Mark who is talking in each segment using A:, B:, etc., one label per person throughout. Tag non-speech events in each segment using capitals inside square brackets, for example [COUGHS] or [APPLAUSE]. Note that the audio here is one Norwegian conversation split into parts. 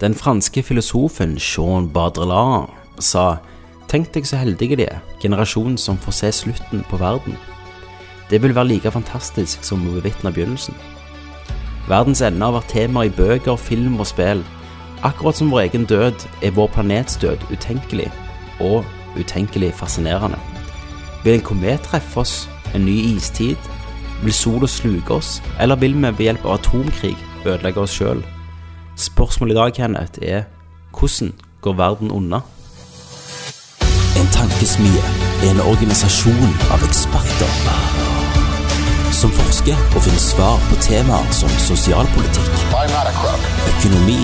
A: Den franske filosofen Jean Baudrillard sa Tenk deg så heldige de er, generasjonen som får se slutten på verden. Det vil være like fantastisk som å bevitne begynnelsen. Verdens ende har vært tema i bøker, film og spill. Akkurat som vår egen død er vår planets død utenkelig, og utenkelig fascinerende. Vil en komet treffe oss? En ny istid? Vil sola sluke oss? Eller vil vi ved hjelp av atomkrig ødelegge oss sjøl? Spørsmålet i dag, Kenneth, er hvordan går verden unna? En tankesmie er en organisasjon av eksperter som forsker og finner svar på temaer som sosialpolitikk,
B: I'm not a crook.
A: økonomi,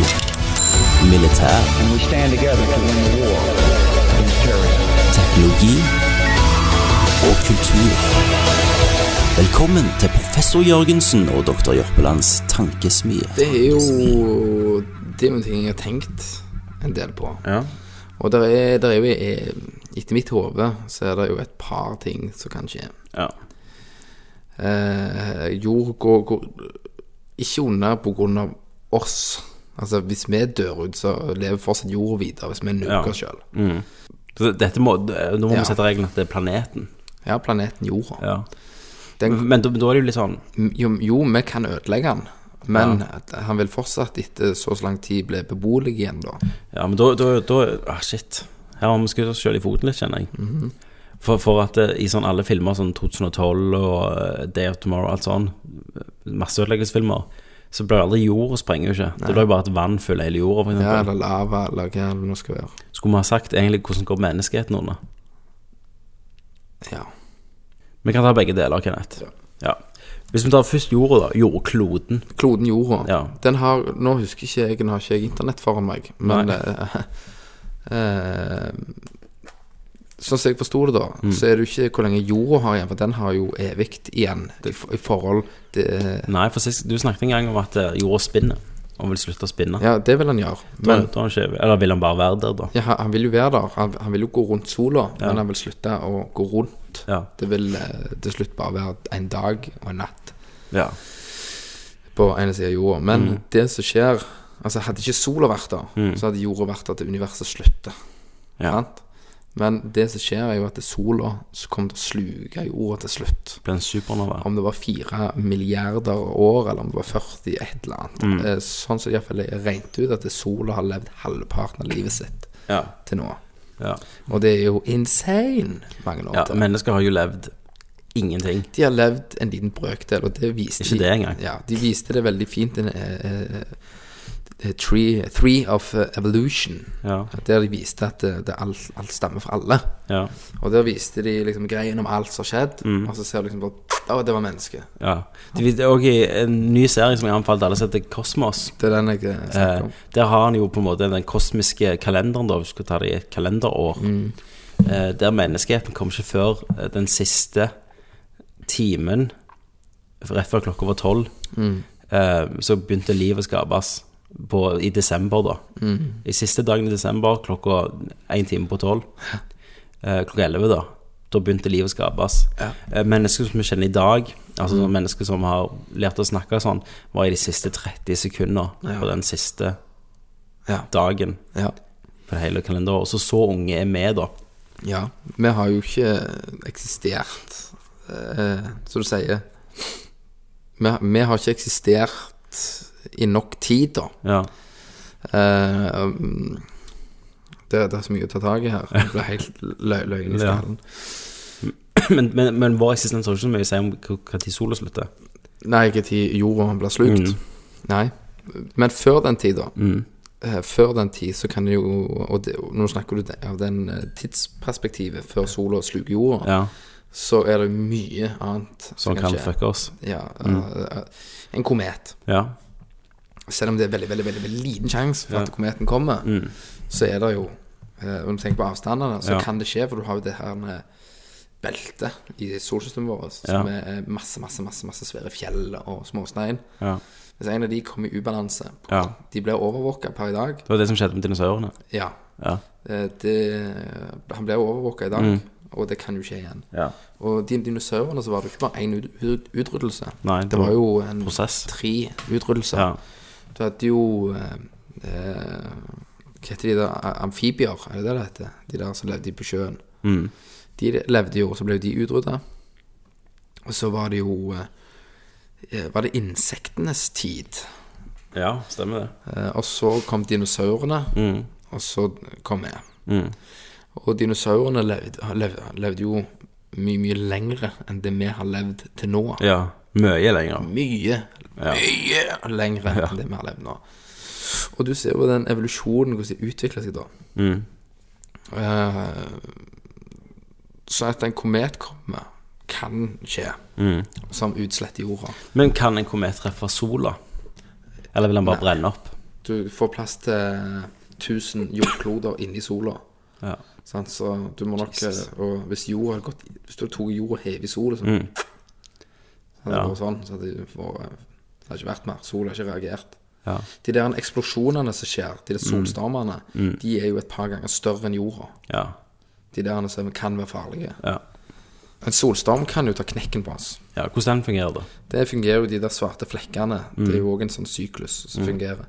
A: militær,
C: and we stand together to win the war against terrorism.
A: teknologi og kultur. Velkommen til professor Jørgensen og doktor Jørpelands tankesmie.
D: Det er jo Det er jo en ting jeg har tenkt en del på.
A: Ja.
D: Og der er, der er jo eh, Etter mitt hode så er det jo et par ting som kan skje.
A: Ja.
D: Eh, jord går, går ikke under på grunn av oss. Altså hvis vi dør ut, så lever fortsatt jord videre hvis vi
A: Ja.
D: nuker oss sjøl.
A: Så Dette må, nå må
D: Ja.
A: vi sette regelen at det er planeten.
D: Ja, planeten jorda.
A: Ja.
D: Den,
A: Men da, da er det jo litt sånn
D: jo, jo, vi kan ødelegge den, men at han vil fortsatt etter så så lang tid bli beboelig igjen, da.
A: Ja, men da, da, da ah, Shit. Her har vi skutt oss sjøl i foten litt, kjenner jeg. for, for at eh, i sånn alle filmer, sånn 2012 og eh, Day of Tomorrow og alt sånn, eh, masseødeleggelsesfilmer, så blir aldri jorda sprenger jo ikke. Det blir jo bare at vann fyller hele jorda, for
D: Ja,
A: eksempel.
D: eller lava, eller hva det nå skal være.
A: Skulle vi ha sagt egentlig hvordan går menneskeheten under?
D: Ja.
A: Vi kan ta begge deler, Kenneth. Ja. Hvis vi tar først jorda, da. Jordkloden.
D: Kloden jorda.
A: Ja.
D: Den har Nå husker ikke jeg, nå har ikke jeg internett foran meg, men
A: Nei.
D: eh, eh, Sånn som jeg forsto det, da, så er det jo ikke hvor lenge jorda har igjen, for den har jo evig igjen i, for- i forhold til
A: Nei, for sist, du snakket en gang om at eh, jorda spinner, og vil slutte å spinne.
D: Ja, det vil han gjøre,
A: Da-
D: men
A: da er han ikke, eller vil han bare være der, da?
D: ja, han han vil jo være der. Han, han vil jo gå rundt sola, men han vil slutte å gå rundt.
A: Ja.
D: Det vil eh, til slutt bare være en dag og en natt.
A: ja.
D: på ene siden av jorda. Men det som skjer Altså, hadde ikke sola vært der, så hadde jorda vært der til universet slutter.
A: Ja.
D: Sant? Men det som skjer, er jo at det er sola som kommer til å sluke jorda til slutt.
A: Blir en supernova.
D: Om det var fire milliarder år, eller om det var 40, et eller annet.
A: Mm.
D: Eh, Sånn som iallfall er regnet ut, at det sola har levd halvparten av livet sitt
A: Ja.
D: til nå.
A: Ja.
D: Og det er jo insane mange år
A: ja,
D: til.
A: mennesker har jo levd ingenting.
D: de har levd en liten brøkdel, og det viste
A: Ikke
D: de,
A: det engang.
D: Ja, de viste det veldig fint i en, eh, eh, tree, tree of eh, Evolution,
A: Ja.
D: der de viste at eh, det, alt, alt stammer fra alle.
A: Ja.
D: Og der viste de liksom greien om alt som har skjedd, og så ser du liksom bare Å, det var mennesket.
A: ja. Det vis- og i en ny serie som jeg anbefalte alle, som heter Kosmos.
D: Det er den jeg eh,
A: Eh,
D: snakker om.
A: der har han jo på en måte den kosmiske kalenderen, da, hvis du skal ta det i et kalenderår. Eh, der menneskeheten kom ikke før eh, den siste timen, rett før klokka var tolv, eh, så begynte livet å skapes på, i desember, da. I siste dagen i desember, klokka én time på tolv, eh, klokka elleve, da. Da begynte livet å skapes. Eh, mennesker som vi kjenner i dag, altså sånne mennesker som har lært å snakke sånn, var i de siste 30 sekunder på den siste
D: Ja.
A: dagen
D: Ja.
A: på hele kalenderen. Så så unge er med, da.
D: ja. Vi har jo ikke eksistert, eh, som du sier. Vi, vi har ikke eksistert i nok tid, da.
A: Ja.
D: Eh, um, det, det er så mye å ta tak i her. Jeg ble helt lø løgn i
A: Ja.
D: skallen.
A: [CLEARS THROAT] Men, men, men vår eksistens har ikke så mye å si om når sola slutter.
D: Nei, ikke til jorda blir slukt. Nei. Men før den tid, da. eh, Før den tid så kan det jo Og det, og nå snakker du de- av den eh, tidsperspektivet før sola sluker jorda,
A: Ja.
D: så er det mye annet
A: Som kan Mm. fucke oss.
D: Ja, eh, eh, en komet.
A: Ja.
D: Selv om det er veldig, veldig, veldig, veldig liten sjanse for at kometen kommer, så er det jo eh, Om du tenker på avstandene, så
A: Ja.
D: kan det skje, for du har jo det her med beltet i solsystemet vårt som er eh, masse, masse, masse masse svære fjell og småstein.
A: ja.
D: Hvis en av de kommer i ubalanse
A: Ja.
D: De blir overvåka per i dag.
A: Det var det som skjedde med dinosaurene.
D: Ja.
A: Ja.
D: Eh, Det, han blir overvåka i dag, og det kan jo skje igjen.
A: Ja.
D: Og de dinosaurene så var det jo ikke bare én ut, ut, utryddelse.
A: Nei,
D: det var jo en
A: prosess.
D: tre utryddelser.
A: Ja.
D: Du hadde jo eh, eh, Hva heter de der A- amfibier? Er det det det heter? De der som levde på sjøen.
A: Mm.
D: De levde jo, og så ble jo de utrydda. Og så var det jo eh, Var det insektenes tid?
A: Ja, stemmer det.
D: Eh, Og så kom dinosaurene, og så kom jeg.
A: Mm.
D: Og dinosaurene levde, har levd- levde jo mye, mye lengre enn det vi har levd til nå.
A: Ja, mye lenger.
D: Mye, mye lengre enn det vi har levd nå. Og du ser jo den evolusjonen, hvordan det utvikler seg da.
A: Mm.
D: Eh, Så at en komet kommer, kan skje,
A: Mm.
D: som utsletter jorda.
A: Men kan en komet treffe sola? Eller vil han bare brenne opp?
D: Du får plass til 1000 jordkloder inni sola.
A: Ja.
D: Sant? Så du må nok eh, Og hvis jorda hadde gått Hvis du tok jorda hev i solen, så hadde det
A: Ja.
D: vært sånn. Så hadde det, vært- det hadde ikke vært mer. Sola har ikke reagert.
A: Ja.
D: De der eksplosjonene som skjer, de der solstormene, de er jo et par ganger større enn jorda.
A: Ja.
D: De der som kan være farlige.
A: ja.
D: En solstorm kan jo ta knekken på oss.
A: ja. Hvordan den fungerer det?
D: Det fungerer jo de der svarte flekkene.
A: Mm.
D: Det er jo òg en sånn syklus som fungerer.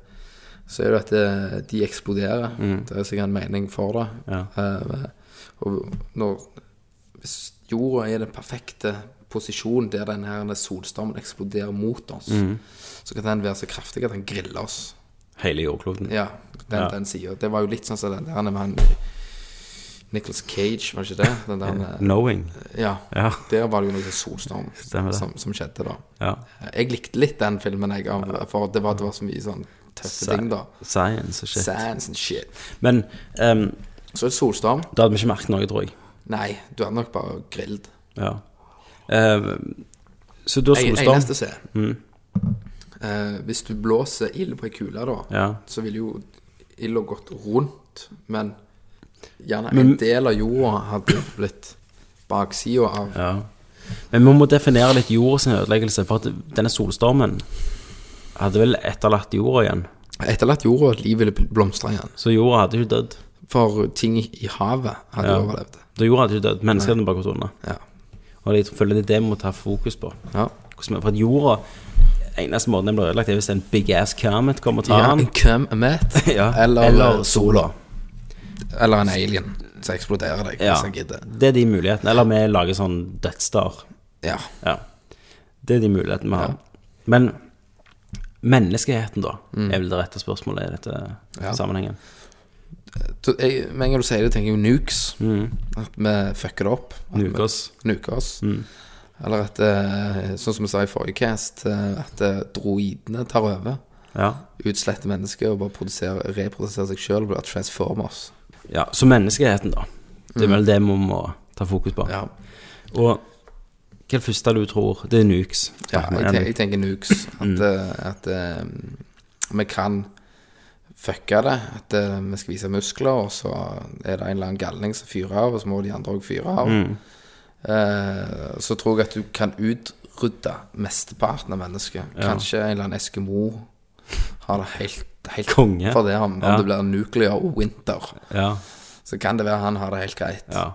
D: Så er det at eh, de eksploderer. Det er sikkert en mening for det.
A: Mm. Ja.
D: Eh, og når Hvis jorda er i den perfekte posisjonen der den her solstormen eksploderer mot oss,
A: Mm.
D: så kan den være så kraftig at den griller oss.
A: Hele jordkloden?
D: Ja, den,
A: Ja.
D: den sida. Det var jo litt sånn som den der han med han Nicholas Cage, var det ikke det? Den der, han, eh,
A: Knowing?
D: ja.
A: Ja.
D: Der var det jo noe solstorm
A: Stemmer det.
D: som, som skjedde, da.
A: ja.
D: Jeg likte litt den filmen, jeg, av- for det var, det var så mye sånn tøffe ting, da.
A: Science og shit.
D: Sands and shit.
A: Men ehm,
D: Så et solstorm.
A: da hadde vi ikke merket noe, tror jeg.
D: Nei, du er nok bare grilled.
A: Ja. Ehm, så da
D: Jeg, jeg
A: solstorm Mm.
D: neste ser. Eh, hvis du blåser ild på ei kule, da,
A: Ja.
D: så ville jo ilda gått rundt, men gjerne en
A: Men-
D: del av jorda hadde blitt baksida av
A: Ja. Men vi må definere litt jordas ødeleggelse, for at denne solstormen hadde vel etterlatt jorda igjen.
D: Etterlatt jorda, at livet ville blomstre igjen.
A: Så jorda hadde ikke dødd.
D: For ting i havet hadde
A: Ja.
D: overlevd.
A: Da jorda hadde ikke dødd. Menneskene hadde bare gått unna.
D: Ja.
A: Og jeg føler det er det vi må ta fokus på.
D: ja.
A: Hvordan vi- For at jorda Eneste måten den blir ødelagt, er hvis en big ass comet kommer og tar
D: Ja,
A: den.
D: [LAUGHS] Hvem er med?
A: [LAUGHS] Ja,
D: Eller, eh,
A: eller
D: sola. Eller en alien som eksploderer deg
A: Ja.
D: hvis han gidder.
A: Det er de mulighetene. Eller vi lager sånn dødsstar.
D: Ja.
A: Ja. Det er de mulighetene vi har. Men menneskeheten, da, er vel det rette spørsmålet i dette
D: Mm. Ja.
A: sammenhengen.
D: Så jeg, med en gang du sier det, tenker jeg jo nukes.
A: Mm.
D: At vi fucker det opp. At vi
A: Nuke oss.
D: Nuker oss. Eller at, eh, sånn som vi sa i forrige cast, eh, at eh, droidene tar over.
A: Ja.
D: Utsletter mennesker og bare produserer, reproduserer seg sjøl og blir transformers.
A: ja. Så menneskeheten, da. Det er vel det vi må ta fokus på.
D: Mm. Ja.
A: Og hva er det første du tror? Det er nukes.
D: Ja,
A: Snakker vi
D: jeg,
A: om.
D: tenker, jeg tenker
A: [CLEARS THROAT]
D: nukes. At,
A: Mm.
D: eh, at eh, vi kan fucke det. At eh, vi skal vise muskler, og så er det en eller annen galning som fyrer av, og så må de andre òg fyre av.
A: Mm.
D: Eh, så tror jeg at du kan utrydde mesteparten av mennesket. Kanskje en eller annen Eskimo har det helt, helt
A: Konge.
D: For det, om,
A: Ja.
D: om det blir nuclear winter,
A: ja.
D: så kan det være han har det helt greit.
A: ja.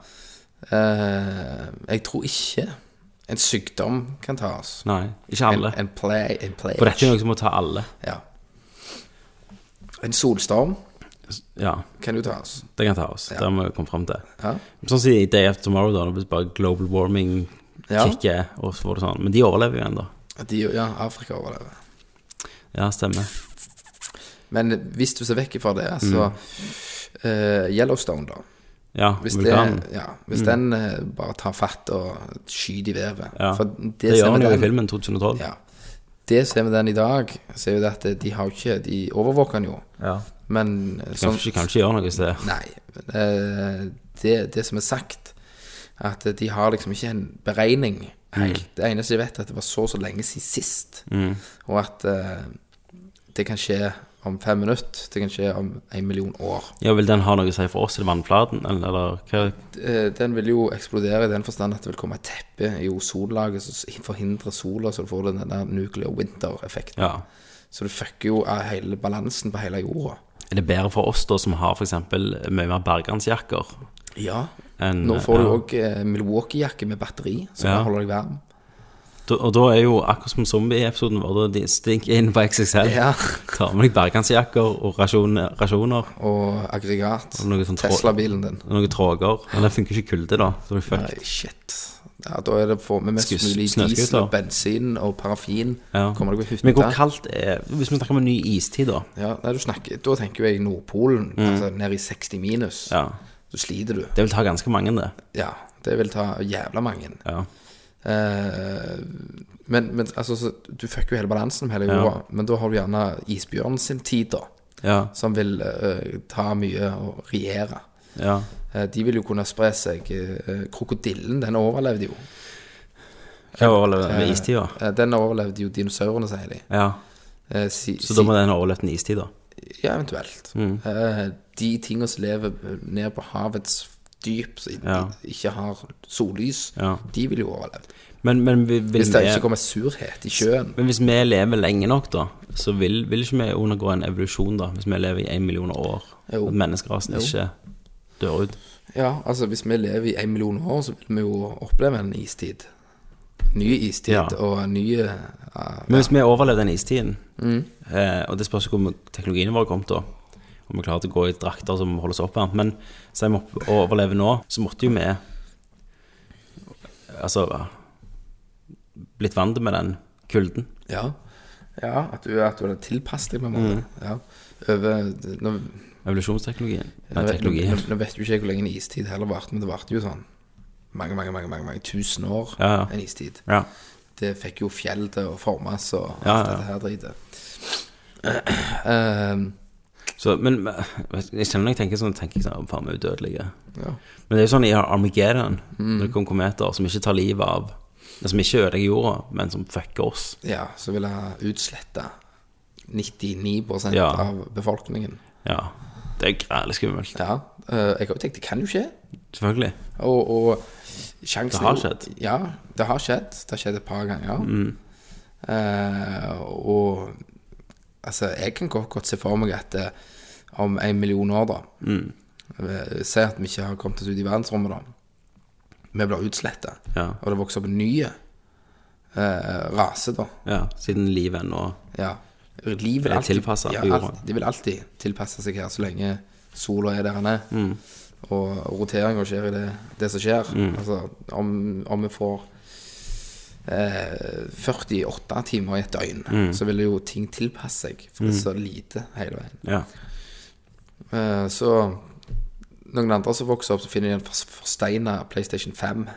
D: Eh, jeg tror ikke en sykdom kan ta oss.
A: Nei, ikke alle.
D: En, eh, en play, en play.
A: For dette er noe som må ta alle.
D: Ja. En solstorm
A: Ja,
D: kan jo ta oss.
A: det kan ta oss. Det må vi komme fram til.
D: Ja.
A: Sånn som i Day After Tomorrow, da. Når det bare global warming
D: Ja.
A: kicker, og så får det sånn. Men de overlever jo ennå.
D: At De, ja, Afrika overlever.
A: Ja, stemmer.
D: Men hvis du ser vekk fra det, så
A: Mm.
D: eh, Yellowstone, da.
A: Ja,
D: Hvis, det,
A: vulkanen.
D: ja, hvis
A: Mm.
D: den eh, bare tar fatt og skyter i vevet
A: Ja.
D: For
A: det,
D: det,
A: gjør
D: ser vi
A: han jo i
D: den,
A: filmen 2012.
D: ja. det ser vi den i dag, så er jo det at de har jo ikke De overvåker den jo.
A: Ja.
D: Men sånn-
A: Kanskje, kanskje gjør noe hvis det
D: Nei. eh, Det, det som er sagt, at de har liksom ikke en beregning
A: Mm.
D: helt. Det eneste de vet, er at det var så og så lenge siden sist. Og at eh, det kan skje om fem minutter, det kan skje om en million år.
A: Ja, Vil den ha noe å si for oss i vannflaten, eller, eller hva?
D: Eh, Den vil jo eksplodere i den forstand at det vil komme et teppe i ozonlaget som s- forhindrer sola, så du får den der nuclear winter-effekten.
A: Ja.
D: Så du fucker jo av hele balansen på hele jorda.
A: Er det bedre for oss da, som har f.eks. mye mer bergansjakker?
D: Ja.
A: enn-
D: Nå får du
A: ja.
D: òg Milwaukee-jakke med batteri, som
A: Ja.
D: kan holde deg varm.
A: Da, og da er jo akkurat som zombie-episoden vår, da de stinker inn på XXL.
D: Ja.
A: Tar med deg bergansjakker og rasjoner, rasjoner
D: Og aggregat.
A: Og noe sånn tråd-
D: Tesla-bilen din.
A: og noen tråger. Men den funker ikke i kulde, da. Så blir fucked.
D: Nei, shit. Ja, da er det å få med mest
A: Skus-
D: mulig
A: snøskuter.
D: diesel, og bensin og parafin.
A: Ja.
D: Kommer deg på
A: Men hvor
D: hytta.
A: kaldt er Hvis vi snakker om en ny istid, da.
D: Ja, nei, du snakker, da tenker jo jeg Nordpolen, altså ned i 60 minus.
A: Mm. Ja.
D: Så sliter du.
A: Det vil ta ganske mange, det.
D: Ja, det vil ta jævla mange.
A: Ja.
D: Eh, men, men altså, så, du fucker jo hele balansen med hele jorda. Men da har du gjerne isbjørnen sin tid, da.
A: Ja.
D: Som vil eh, ta mye og regjere.
A: ja.
D: Eh, de vil jo kunne spre seg. eh, krokodillen, den overlevde jo.
A: Jeg overlever med istida.
D: Eh, den overlevde jo dinosaurene, sier de.
A: Ja.
D: Eh, si,
A: Så da
D: si-
A: må Mm. den ha overlevd en istid, da.
D: Ja, eventuelt. Eh, de tingene som lever ned på havets dyp, som i-
A: Ja.
D: ikke har sollys,
A: Ja.
D: de vil jo overleve.
A: Men, men, vi- vil
D: Hvis det
A: vi-
D: ikke kommer surhet i sjøen.
A: men hvis vi lever lenge nok, da, så vil, vil ikke vi undergå en evolusjon, da. Hvis vi lever i en million år.
D: Jo.
A: At menneskerasen
D: Jo.
A: ikke dør ut.
D: Ja, altså Hvis vi lever i en million år, så vil vi jo oppleve en istid. Ny istid
A: Ja.
D: og nye eh,
A: Men hvis vi overlever den istiden,
D: Mm.
A: eh, og det spørs jo hvor teknologien vår kom til, om vi klarer til å gå i drakter som holder oss oppvarmt, men sier vi opp- overlever nå, så måtte jo vi altså blitt vant med den kulden.
D: Ja, ja at, du, at du hadde tilpasset deg på en
A: Mm.
D: måte. Ja. Over, nå,
A: Evolusjonsteknologien.
D: nå,
A: Nei,
D: vet- nå,
A: teknologien.
D: nå vet du ikke hvor lenge en istid heller varte, men det varte jo sånn mange, mange mange, mange, mange tusen år.
A: Ja, ja.
D: En istid.
A: Ja.
D: Det fikk jo fjell til å formes og alt
A: Ja, ja, ja.
D: dette her dritet. Ehm,
A: Så, men men, jeg kjenner når jeg tenker sånn, tenker jeg sånn, faen, vi er udødelige.
D: ja.
A: Men det er jo sånn i Armageddon, når det kommer kometer som ikke tar livet av, altså, som ikke ødelegger jorda, men som fucker oss.
D: ja, så vil jeg utslette 99
A: Ja.
D: av befolkningen.
A: Ja, det er grælig skummelt.
D: Ja. eh, jeg har jo tenkt det kan jo skje.
A: Selvfølgelig.
D: Og, og sjansen
A: Det har
D: er jo-
A: skjedd. Mm.
D: Ja, det har skjedd. Det har skjedd et par ganger. Eh, og altså, jeg kan godt, godt se for meg at eh, om en million år, da
A: Mm.
D: eh, Se at vi ikke har kommet oss ut i verdensrommet, da. Vi blir utsletta.
A: Ja.
D: Og det vokser opp en ny eh, rase, da.
A: Ja, siden livet ennå
D: Ja. Liv
A: Det
D: vil
A: er
D: alltid,
A: tilpasset
D: ja,
A: på jorda.
D: alt, de vil alltid tilpasse seg her så lenge sola er der han er. Og roteringa skjer i det, det som skjer. Altså, om, om vi får eh, 48 timer i et døgn, så vil jo ting tilpasse seg. For det er så lite hele veien.
A: Ja.
D: Eh, så noen andre som vokser opp, så finner de en fors- forsteina PlayStation 5.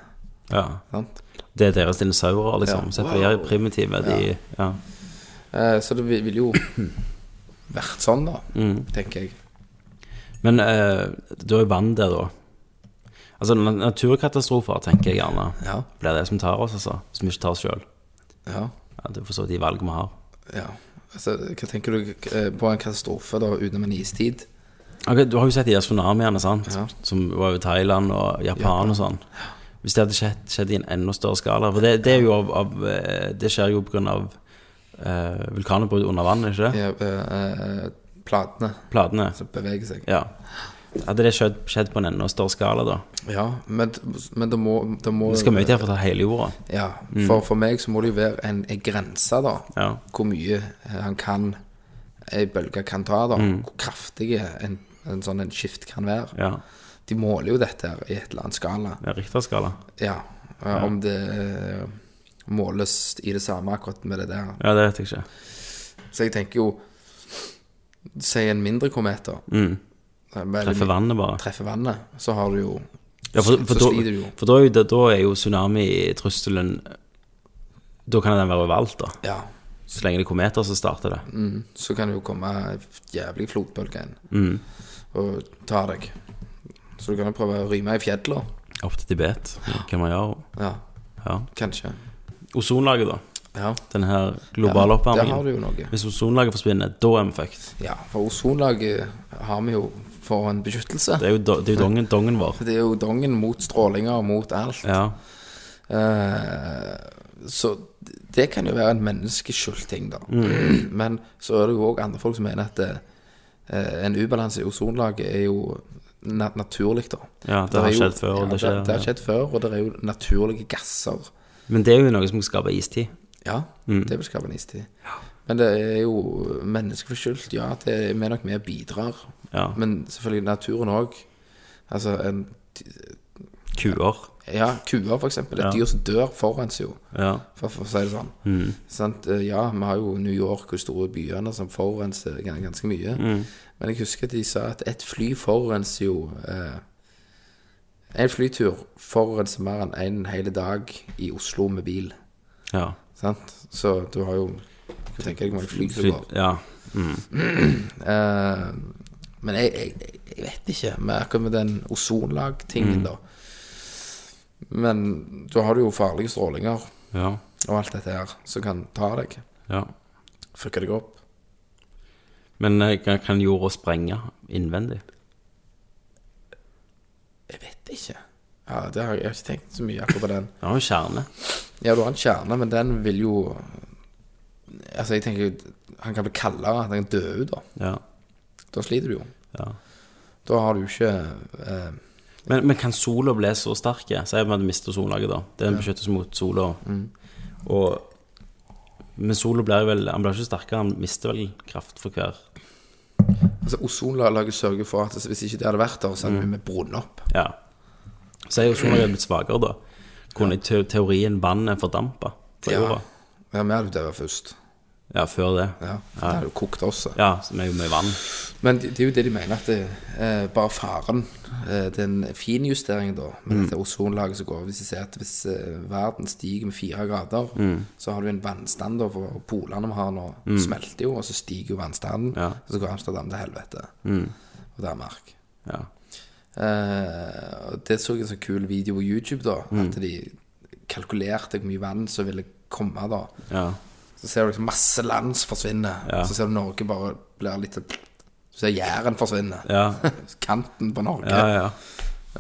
A: ja.
D: Sant?
A: Det er deres dinosaurer, liksom.
D: Ja.
A: Sett på de er primitive. De, ja.
D: Eh, så det vil vil [COUGHS] jo vært sånn, da, tenker jeg.
A: Men eh, da er jo vann der, da. Altså na- naturkatastrofer, tenker jeg gjerne.
D: Ja.
A: Blir det som tar oss, altså. Som vi ikke tar oss sjøl.
D: Ja.
A: Ja, det er for så vidt de valgene vi har.
D: Ja, altså, hva tenker du eh, på en katastrofe da, utenom en istid?
A: Ok, Du har jo sett de der tsunamiene, sant?
D: Ja.
A: Som var i Thailand og Japan og sånn. Hvis det hadde skjedd, skjedd i en enda større skala For det, det er jo av, av eh, Det skjer jo pga. Uh, vulkanutbrudd under vann, er det ikke det?
D: Ja, eh, eh, platene
A: Platene.
D: som beveger seg.
A: Ja. Hadde det skjedd, skjedd på en enda større skala, da?
D: Ja, men, men det må, det Mm. må
A: Det skal mye til for å ta hele jorda.
D: Ja, for, for meg så må det jo være en, en grense, da.
A: Ja.
D: Hvor mye eh, han kan ei bølge kan ta, da. Hvor kraftig en, en sånn en skift kan være.
A: Ja.
D: De måler jo dette her i et eller annet skala.
A: ja Richterskala.
D: Ja, eh, om det eh, måles i det samme akkurat med det der
A: Ja, det vet jeg ikke.
D: Så jeg tenker jo Si en mindre komet, da.
A: Treffer Mm. vannet, bare.
D: Treffer vannet, så har du jo
A: Ja, for, for,
D: Så sliter du
A: da,
D: jo.
A: for da, er jo, da, da er jo tsunami-trusselen Da kan den være overalt, da.
D: Ja. mm,
A: Så lenge det er kometer, så starter det.
D: Så kan det jo komme en jævlig flodbølge inn
A: Mm.
D: og ta deg. Så du kan jo prøve å ryme i fjellet.
A: Opp til Tibet. Hva man gjør.
D: Ja,
A: Ja.
D: kanskje.
A: Ozonlaget, da.
D: Ja.
A: Den her globale
D: Der har du
A: oppvarmingen.
D: jo noe.
A: Hvis ozonlaget forsvinner, da er vi fucked.
D: Ja, for ozonlaget har vi jo for en beskyttelse.
A: Det er jo, do- det er jo dongen, dongen vår.
D: Det er jo dongen mot strålinger og mot alt.
A: Ja.
D: Eh, Så det kan jo være en menneskeskyld ting, da.
A: Mm.
D: Men så er det jo òg andre folk som mener at det, eh, en ubalanse i ozonlaget er jo na naturlig, da.
A: Ja, det har
D: er jo-
A: skjedd før, og
D: ja,
A: det
D: det,
A: skjer,
D: det har
A: ja.
D: skjedd før, og det er jo naturlige gasser
A: Men det er jo noe som skaper istid.
D: Ja,
A: Mm.
D: det vil skape en istid. Men det er jo menneskeforskyldt, ja. at det- Vi er nok med og bidrar.
A: Ja.
D: Men selvfølgelig naturen òg. Altså en
A: Kuer.
D: Ja, kuer, for eksempel. Et
A: Ja.
D: dyr som dør, forurenser jo,
A: Ja.
D: for, for å si det sånn. Sant? Eh, Ja, vi har jo New York og de store byene som forurenser gan- ganske mye. Men jeg husker at de sa at et fly forurenser jo eh, En flytur forurenser mer enn en hel dag i Oslo med bil.
A: ja.
D: Sant? Så du har jo Du tenker deg hvor mange fly som
A: Fly,
D: går.
A: ja.
D: Eh, men jeg, jeg, jeg vet ikke med akkurat med den ozonlag-tingen, da. Men da har du jo farlige strålinger
A: Ja.
D: og alt dette her som kan ta deg,
A: ja.
D: fucke deg opp.
A: Men eh, kan- kan jorda sprenge innvendig?
D: Jeg vet ikke. Ja, det har jeg, jeg har ikke tenkt så mye akkurat på den.
A: Det har jo en kjerne.
D: Ja, du har en kjerne, men den vil jo Altså, jeg tenker jo Han kan bli kaldere, han kan dø ut, da.
A: Ja.
D: Da sliter du jo.
A: ja.
D: Da har du ikke eh,
A: Men, men kan sola bli så sterk? Si at vi hadde mistet sollaget, da. Det er en beskyttelse mot sola.
D: Mm.
A: Og Men sola blir vel Han blir ikke sterkere, han mister vel kraft for hver
D: Altså, ozonlaget sørger for at hvis ikke det hadde vært der, så hadde vi brunnet opp.
A: Ja. Så er jo sollaget blitt svakere, da. Kunne i te teorien vannet fordampa på jorda?
D: Ja, vi hadde jo dødd først.
A: Ja, før det.
D: Ja, Det hadde jo kokt også.
A: Ja, så vi er jo mye vann.
D: Men det, det er jo det de mener, at det, eh, bare faren eh, Det er en fin justering da,
A: Mm.
D: med dette ozonlaget som går. Hvis de ser at hvis eh, verden stiger med fire grader,
A: Mm.
D: så har du en vannstand da, for polene vi har nå, smelter jo, og så stiger jo vannstanden.
A: Ja. Mm.
D: Og så går Amsterdam til helvete. Og Danmark.
A: Ja.
D: Eh, og det så jeg en sånn kul video på YouTube, da.
A: Mm.
D: At de kalkulerte hvor mye vann som ville komme, da.
A: ja.
D: Så ser du liksom masse land som forsvinner.
A: Ja.
D: Så ser du Norge bare blir litt Så ser Jæren forsvinne.
A: Ja.
D: [LAUGHS] Kanten på Norge
A: Ja, ja.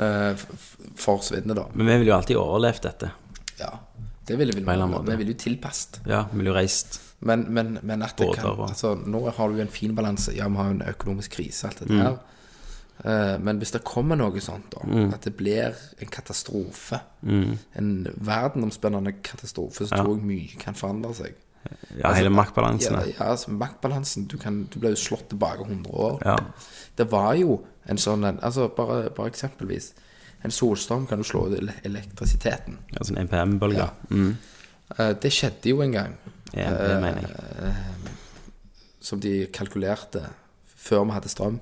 D: eh, f- f- forsvinner, da.
A: Men vi vil jo alltid overlevd dette.
D: Ja. Det ville vi
A: På en eller annen måte.
D: Vi ville jo tilpasset.
A: Ja, vi ville jo reist.
D: Men, men, men at det
A: Båter
D: kan
A: og-
D: Altså, nå har du jo en fin balanse. Ja, vi har jo en økonomisk krise, alt det
A: Mm.
D: der. Eh, Men hvis det kommer noe sånt, da,
A: Mm.
D: at det blir en katastrofe, en verdenomspennende katastrofe, så tror jeg mye kan forandre seg.
A: Ja, hele maktbalansen.
D: Ja, ja, altså maktbalansen du, kan, du ble jo slått tilbake 100 år.
A: Ja.
D: Det var jo en sånn en altså bare, bare eksempelvis. En solstorm kan jo slå ut ele- elektrisiteten.
A: Ja, sånn NPM-bølge.
D: Ja. Eh, Det skjedde jo en gang, Eh,
A: Ja, det mener jeg.
D: som de kalkulerte før vi hadde strøm.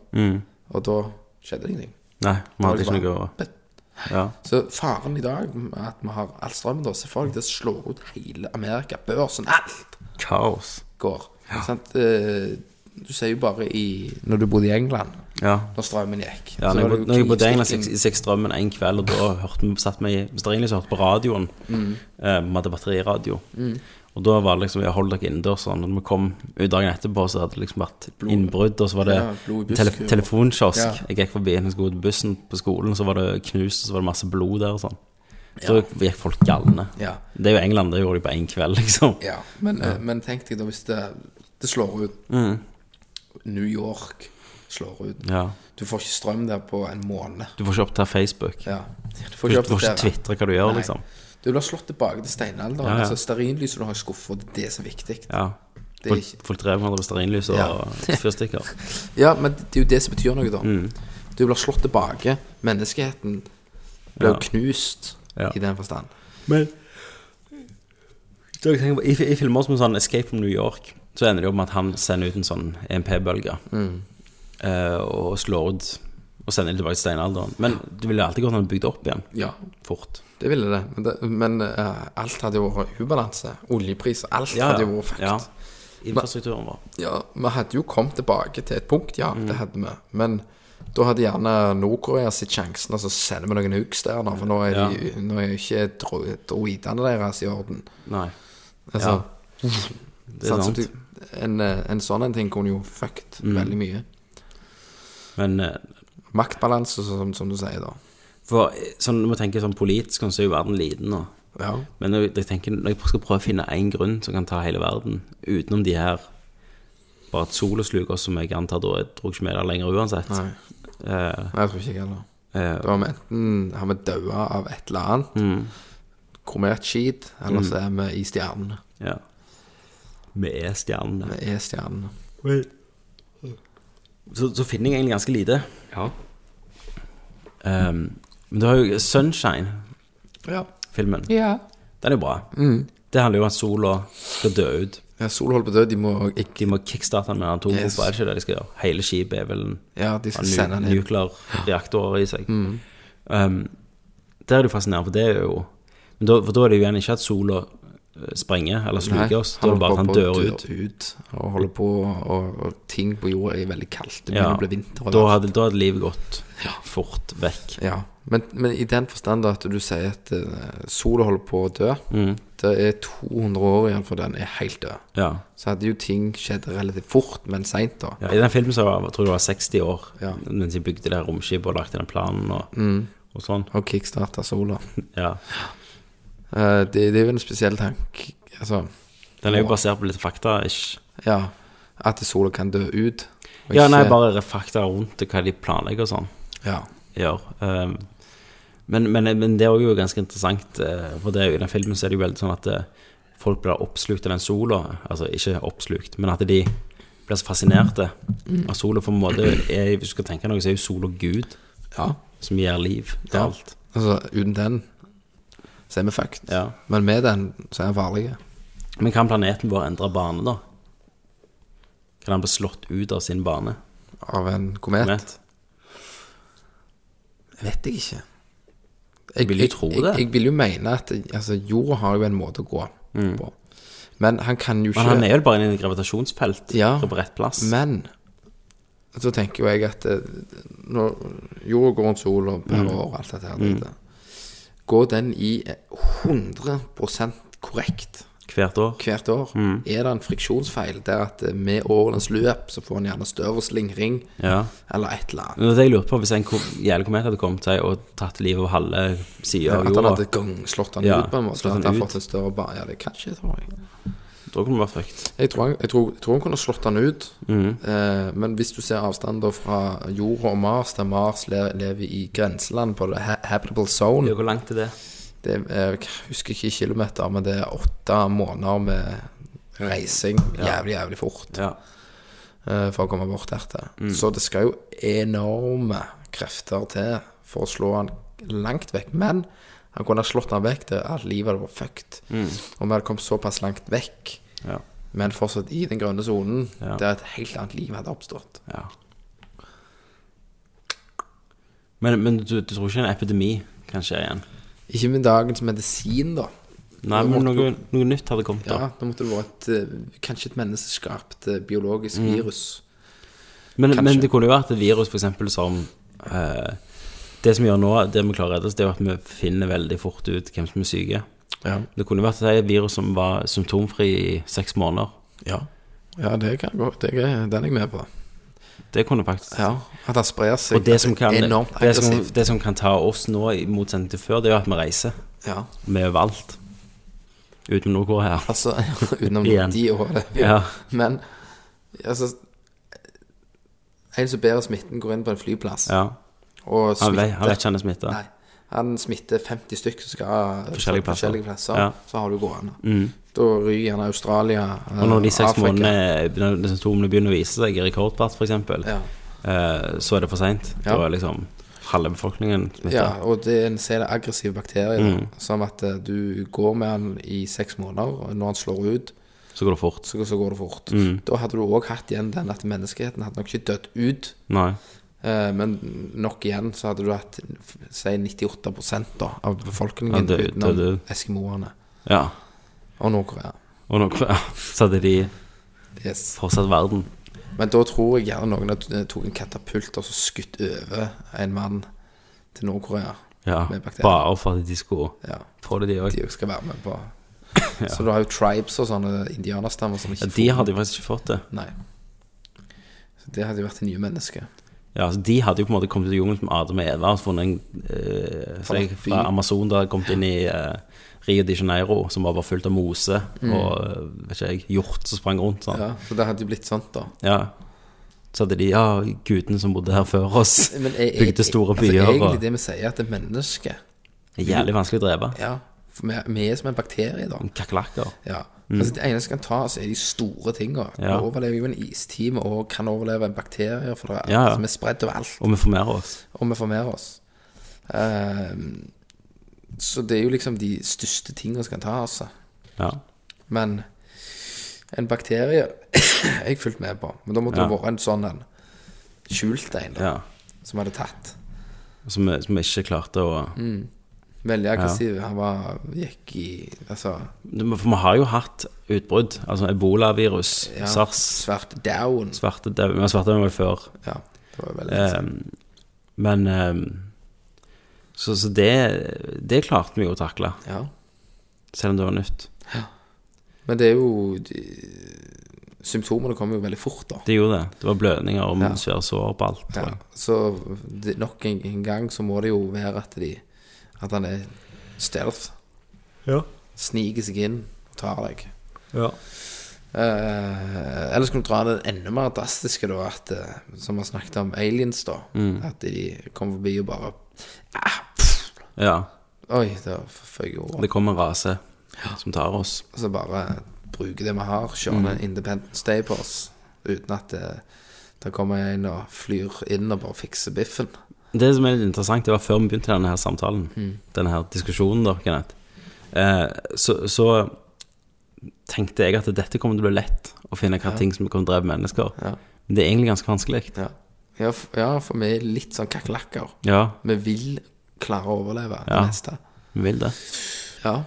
D: Og da skjedde det ingenting.
A: Nei, Mm. vi hadde ikke
D: Det var
A: noe
D: bare-
A: Ja.
D: Så faren i dag med at vi har all strømmen, da, se for deg det slår ut hele Amerika, børsen, alt
A: Kaos.
D: går. Sant? Eh, Du ser jo bare i Når du bodde i England.
A: Ja.
D: når strømmen gikk.
A: Ja,
D: Så
A: når jeg,
D: var det
A: bod-
D: jo
A: når jeg bodde i England, så
D: knivstikking.
A: jeg gikk strømmen en kveld, og da hørte vi, satt vi i Strengelig så hørte på radioen.
D: Mm.
A: Eh, vi hadde batteriradio. Og da var det liksom Jeg holdt dere innendørs sånn. Og når vi kom ut dagen etterpå, så hadde det liksom vært innbrudd, og så var det
D: Ja, blod i
A: tele
D: busker.
A: telefonkiosk.
D: Ja.
A: Jeg gikk forbi en skulle gå til bussen på skolen, og så var det knust, og så var det masse blod der og sånn. Så gikk folk galne.
D: Ja.
A: Det er jo England, det gjorde de på én kveld, liksom.
D: Ja, men, eh, men tenk deg da hvis det, det slår ut
A: Mm.
D: New York slår ut.
A: Ja.
D: Du får ikke strøm der på en måned.
A: Du får ikke opp til Facebook.
D: Ja.
A: Du
D: Du får
A: får
D: ikke opp
A: ikke,
D: til TV.
A: tvitre hva du gjør,
D: Nei.
A: liksom.
D: Du blir slått tilbake til steinalderen.
A: Ja, ja.
D: Altså Stearinlyset du har i skuffa, det er det som er viktig. Ja.
A: Ja.
D: Det er
A: Folk,
D: ikke-
A: folk drev med hverandre med stearinlys og
D: Ja.
A: fyrstikker.
D: men det er jo det som betyr noe, da.
A: Mm.
D: Du blir slått tilbake. Menneskeheten blir
A: Ja.
D: knust
A: Ja.
D: i den forstand.
A: Men jeg tenker på, i, fi- I filmer som sånn Escape from New York Så ender det jo med at han sender ut en sånn EMP-bølge
D: Mm.
A: eh, Og slår ut Og sender det tilbake til steinalderen Men det ville alltid gått an å bygge det opp igjen
D: Ja,
A: Fort
D: det ville det. Men, det, men eh, alt hadde jo vært ubalanse. Oljepriser, alt hadde jo vært fucked.
A: Ja. Infrastrukturen vår
D: Ja, vi hadde jo kommet tilbake til et punkt, ja,
A: Mm.
D: det hadde vi. Men da hadde gjerne Nord-Korea sitt sjansen, og så sender vi noen hooks der, nå, for nå er, de, nå er jo ikke dro- droidene deres i orden.
A: Nei,
D: Altså,
A: det er
D: sant, så
A: sant Mm.
D: du- En, eh, en sånn en ting kunne jo fucked veldig mye.
A: Men eh,
D: Maktbalanse, som, som du sier, da.
A: for, eh, sånn, når man tenker sånn politisk Så er jo verden liten nå
D: Ja.
A: Men når jeg, jeg tenker, når jeg skal prøve å finne en grunn Som kan ta hele verden Utenom de her Bare et solosluker som jeg antar Da jeg tror ikke med det lenger uansett
D: Nei.
A: Eh,
D: Nei, jeg tror ikke jeg heller.
A: eh,
D: Da har vi enten har vi daua av et eller annet, kromert skit, eller så er vi i stjernene.
A: Ja. Vi er stjernene.
D: Vi er stjernene.
A: Så, så finner jeg egentlig ganske lite. Ehm, men du har jo Sunshine-filmen.
D: Ja. Mm.
A: Ja. Den er jo bra. Det handler jo om at sola skal dø ut.
D: ja Sol holder på å dø, de må ikke
A: De må kickstarte den med atombomber,
D: Yes.
A: er det ikke det de skal gjøre? Hele skipet er vel en
D: Ja, de skal
A: nu-
D: sende den Mm. inn.
A: nuklearreaktorer i seg. Um, der er det jo fascinerende, for det er jo men da, For da er det jo igjen ikke at sola eh, sprenger eller
D: Nei,
A: sluker oss, da er det bare at han
D: holder
A: dør
D: på å
A: ut.
D: dø ut. Og holder på og, og ting på jorda er veldig kaldt. Det
A: Ja,
D: begynner å bli vinter. og
A: da,
D: alt.
A: hadde, da hadde livet gått fort vekk.
D: Ja, men, men i den forstand da at du sier at eh, sola holder på å dø
A: Mm.
D: Det er 200 år igjen for den er helt død.
A: Ja.
D: Så hadde jo ting skjedd relativt fort, men seint, da.
A: ja. I den filmen så var, tror jeg det var 60 år
D: Ja. Mm.
A: mens de bygde det her romskipet og lagde den planen og, og sånn.
D: Og kickstarta sola.
A: Ja.
D: Eh, det, det er jo en spesiell tanke. Altså,
A: Den er jo basert på litt fakta, ikke
D: ja At sola kan dø ut. og
A: Ja,
D: ikke-
A: nei, bare fakta rundt det, hva de planlegger og sånn.
D: Ja.
A: gjør. Ehm, men, men, men det er jo ganske interessant, eh, for det er jo, i den filmen så er det jo veldig sånn at eh, folk blir oppslukt av den sola. Altså ikke oppslukt, men at de blir så fascinerte
D: Mm.
A: av sola. For på en måte er, hvis du skal tenke noe, så er jo sola Gud
D: ja.
A: som gir liv til
D: Ja.
A: alt.
D: Altså, uten den så er vi fucked.
A: Ja.
D: Men med den så er den farlig.
A: Men kan planeten vår endre bane, da? Kan den bli slått ut av sin bane?
D: Av en komet.
A: Vet?
D: Vet jeg ikke. Jeg
A: Vil du tro
D: jeg,
A: det?
D: Jeg, jeg vil jo mene at altså, jorda har jo en måte å gå på. Men han kan jo ikke
A: Mm. Men han er jo bare inne i et gravitasjonsfelt
D: Ja.
A: på rett plass.
D: Men så tenker jo jeg at eh, når jorda går rundt sola per
A: Mm.
D: år og alt dette her dritet, Går den i 100 korrekt
A: Hvert år.
D: hvert år?
A: Mm.
D: Er det en friksjonsfeil der at eh, med årenes løp så får en gjerne større slingring
A: Ja.
D: eller et eller annet?
A: Men Det jeg lurte på, Hvis en kom, jævlig komet hadde kommet seg og tatt livet av halve sida av
D: At han
A: jorda,
D: hadde gang, slått han
A: Ja,
D: ut på en måte?
A: slått han
D: At han
A: ut.
D: fått en større bar? Ja, det kan ikke, tror jeg.
A: da kunne det vært fucked.
D: Jeg tror, han, jeg, tror, jeg tror han kunne slått han ut. Eh, men hvis du ser avstanden da fra jorda og Mars, der Mars le, lever i grenseland på det ha- habitable zone
A: Hvor langt er det?
D: det er, Jeg husker ikke i kilometer, men det er åtte måneder med reising jævlig, jævlig fort
A: Ja.
D: eh, for å komme bort dertil. Så det skal jo enorme krefter til for å slå han langt vekk. Men han kunne ha slått han vekk til at livet hadde vært fucked. Og vi hadde kommet såpass langt vekk
A: ja.
D: men fortsatt i den grønne sonen,
A: Ja.
D: der et helt annet liv hadde oppstått.
A: ja. Men, men du, du tror ikke en epidemi kan skje igjen?
D: Ikke med dagens medisin, da.
A: Nei,
D: Nå
A: men
D: måtte
A: noe, noe nytt hadde kommet
D: Ja,
A: da.
D: Da måtte det vært eh, kanskje et menneskeskapt eh, biologisk
A: Mm.
D: virus.
A: Men, men
D: kanskje.
A: det kunne jo vært et virus, for eksempel, som eh, Det som vi gjør nå, det vi klarer å redde oss, det er jo at vi finner veldig fort ut hvem som er syke.
D: Ja.
A: Det kunne jo vært et virus som var symptomfri i seks måneder.
D: ja. det kan gå. Det er den er jeg med på.
A: Det kunne faktisk
D: Ja, At han sprer seg
A: Og det som kan,
D: enormt
A: det som,
D: aggressivt.
A: det som kan ta oss nå, i motsetning til før, det er jo at vi reiser.
D: Ja,
A: Vi er overalt. Uten noe her.
D: altså [LAUGHS] Utenom
A: Igjen.
D: de årene.
A: Ja.
D: Men altså En som bærer smitten, går inn på en flyplass
A: Ja.
D: og
A: Han,
D: smitter
A: vet, han vet ikke han er smitta.
D: Nei. Han smitter 50 stykker som skal
A: Forskjellige
D: fra
A: plasser.
D: forskjellige plasser
A: Ja.
D: Så har du gående. Da ryker gjerne Australia, eh,
A: Mm. Og når de seks
D: Afrika.
A: månedene når de symptomene begynner å vise seg i rekordfart, f.eks.,
D: Ja.
A: eh, så er det for seint.
D: Ja.
A: Da er liksom halve befolkningen smitta.
D: ja, og det er en ser det aggressive bakterier.
A: Mm.
D: Som at eh, du går med han i seks måneder, og når han slår ut,
A: Så går det fort.
D: så, så går det fort.
A: Mm.
D: Da hadde du òg hatt igjen den at menneskeheten hadde nok ikke dødd ut.
A: Nei.
D: eh, Men nok igjen så hadde du hatt f- si 98 da, av
A: Ja,
D: befolkningen
A: død-
D: utenom
A: død-
D: eskimoene
A: Ja.
D: og Nord-Korea.
A: Og nå [LAUGHS] ja, så hadde de
D: Yes.
A: fortsatt verden.
D: Men da tror jeg gjerne noen at- eh, tok en katapult og så skutt over en mann til Nord-Korea.
A: Ja.
D: Med bakterier.
A: Bare for at de skulle
D: Ja,
A: få det, de òg.
D: de jo skal være med
A: [COUGHS]
D: på. Så du har jo tribes og sånne indianerstammer som ikke
A: Ja, de
D: får-
A: hadde jo faktisk ikke fått det.
D: Nei. Så det hadde jo vært det nye mennesket.
A: Ja, altså De hadde jo på en måte kommet ut i jungelen som Adam og Eva og funnet en eh, seg
D: Fra by.
A: fra Amazon da kommet inn i eh, Rio de Janeiro, som var bare fullt av mose og eh, vet ikke jeg, hjort som sprang rundt. Sånn. Ja.
D: Mm. Ja, Så det hadde jo blitt sånt, da.
A: Så hadde de ja, gudene som bodde her før oss,
D: Men jeg,
A: [LAUGHS]
D: jeg,
A: bygde store
D: altså,
A: byer
D: Egentlig
A: og
D: det vi sier, at det er mennesket
A: Det er Jævlig vanskelig å drepe.
D: Ja. For vi, vi er som en bakterie, da.
A: Kakerlakker.
D: Ja. Altså, det eneste vi kan ta, så er de store tinga.
A: Mm. Ja.
D: Vi overlever jo en istime og kan overleve en bakterie, for det er,
A: Ja, ja.
D: altså, vi er spredt overalt,
A: Og vi formerer oss.
D: og vi formerer oss. Ehm, så det er jo liksom de største tinga som kan ta, altså.
A: Ja.
D: Men en bakterie [COUGHS] er jeg fulgt med på. Men da måtte
A: Ja.
D: det vært en sånn en skjult en da,
A: ja.
D: som hadde tatt.
A: Som, vi- som vi ikke klarte å
D: Mm. Veldig aggressiv. Han var, gikk i altså,
A: For vi har jo hatt utbrudd. Altså ebolavirus,
D: ja,
A: sars,
D: svart down.
A: svartedauden men Svartedauden var jo før.
D: Ja, det var veldig
A: Ehm, men ehm, Så, så det, det klarte vi jo å takle,
D: ja.
A: selv om det var nytt.
D: Men det er jo de, Symptomene kommer jo veldig fort, da.
A: Det gjorde det. Det var blødninger og
D: Ja.
A: svære sår på alt. tror
D: Ja.
A: jeg.
D: Så det, nok en, en gang så må det jo være at de At han er stealth. Sniker seg inn og tar deg. Eh, eller skal du dra det enda mer drastiske, da, at, eh, som vi har snakket om aliens, da.
A: Mm.
D: At de kommer forbi og bare ah, pff,
A: Ja.
D: Oi, der får jeg ordet.
A: Det kom en rase som tar oss.
D: Og så bare bruke det vi har, kjøre en Independence Day på oss, uten at det, det kommer en og flyr inn og bare fikser biffen.
A: Det som er litt interessant, det var før vi begynte denne her samtalen,
D: Mm.
A: denne her diskusjonen, da, Kenneth, eh, så, så tenkte jeg at dette kommer til å bli lett å finne hva ting som kommer til å drepe mennesker.
D: Ja.
A: Men det er egentlig ganske vanskelig.
D: Ja, ja, f- ja for vi er litt sånn kakerlakker.
A: Ja,
D: Vi vil klare å overleve
A: Ja.
D: det meste.
A: vi vil det.
D: Ja.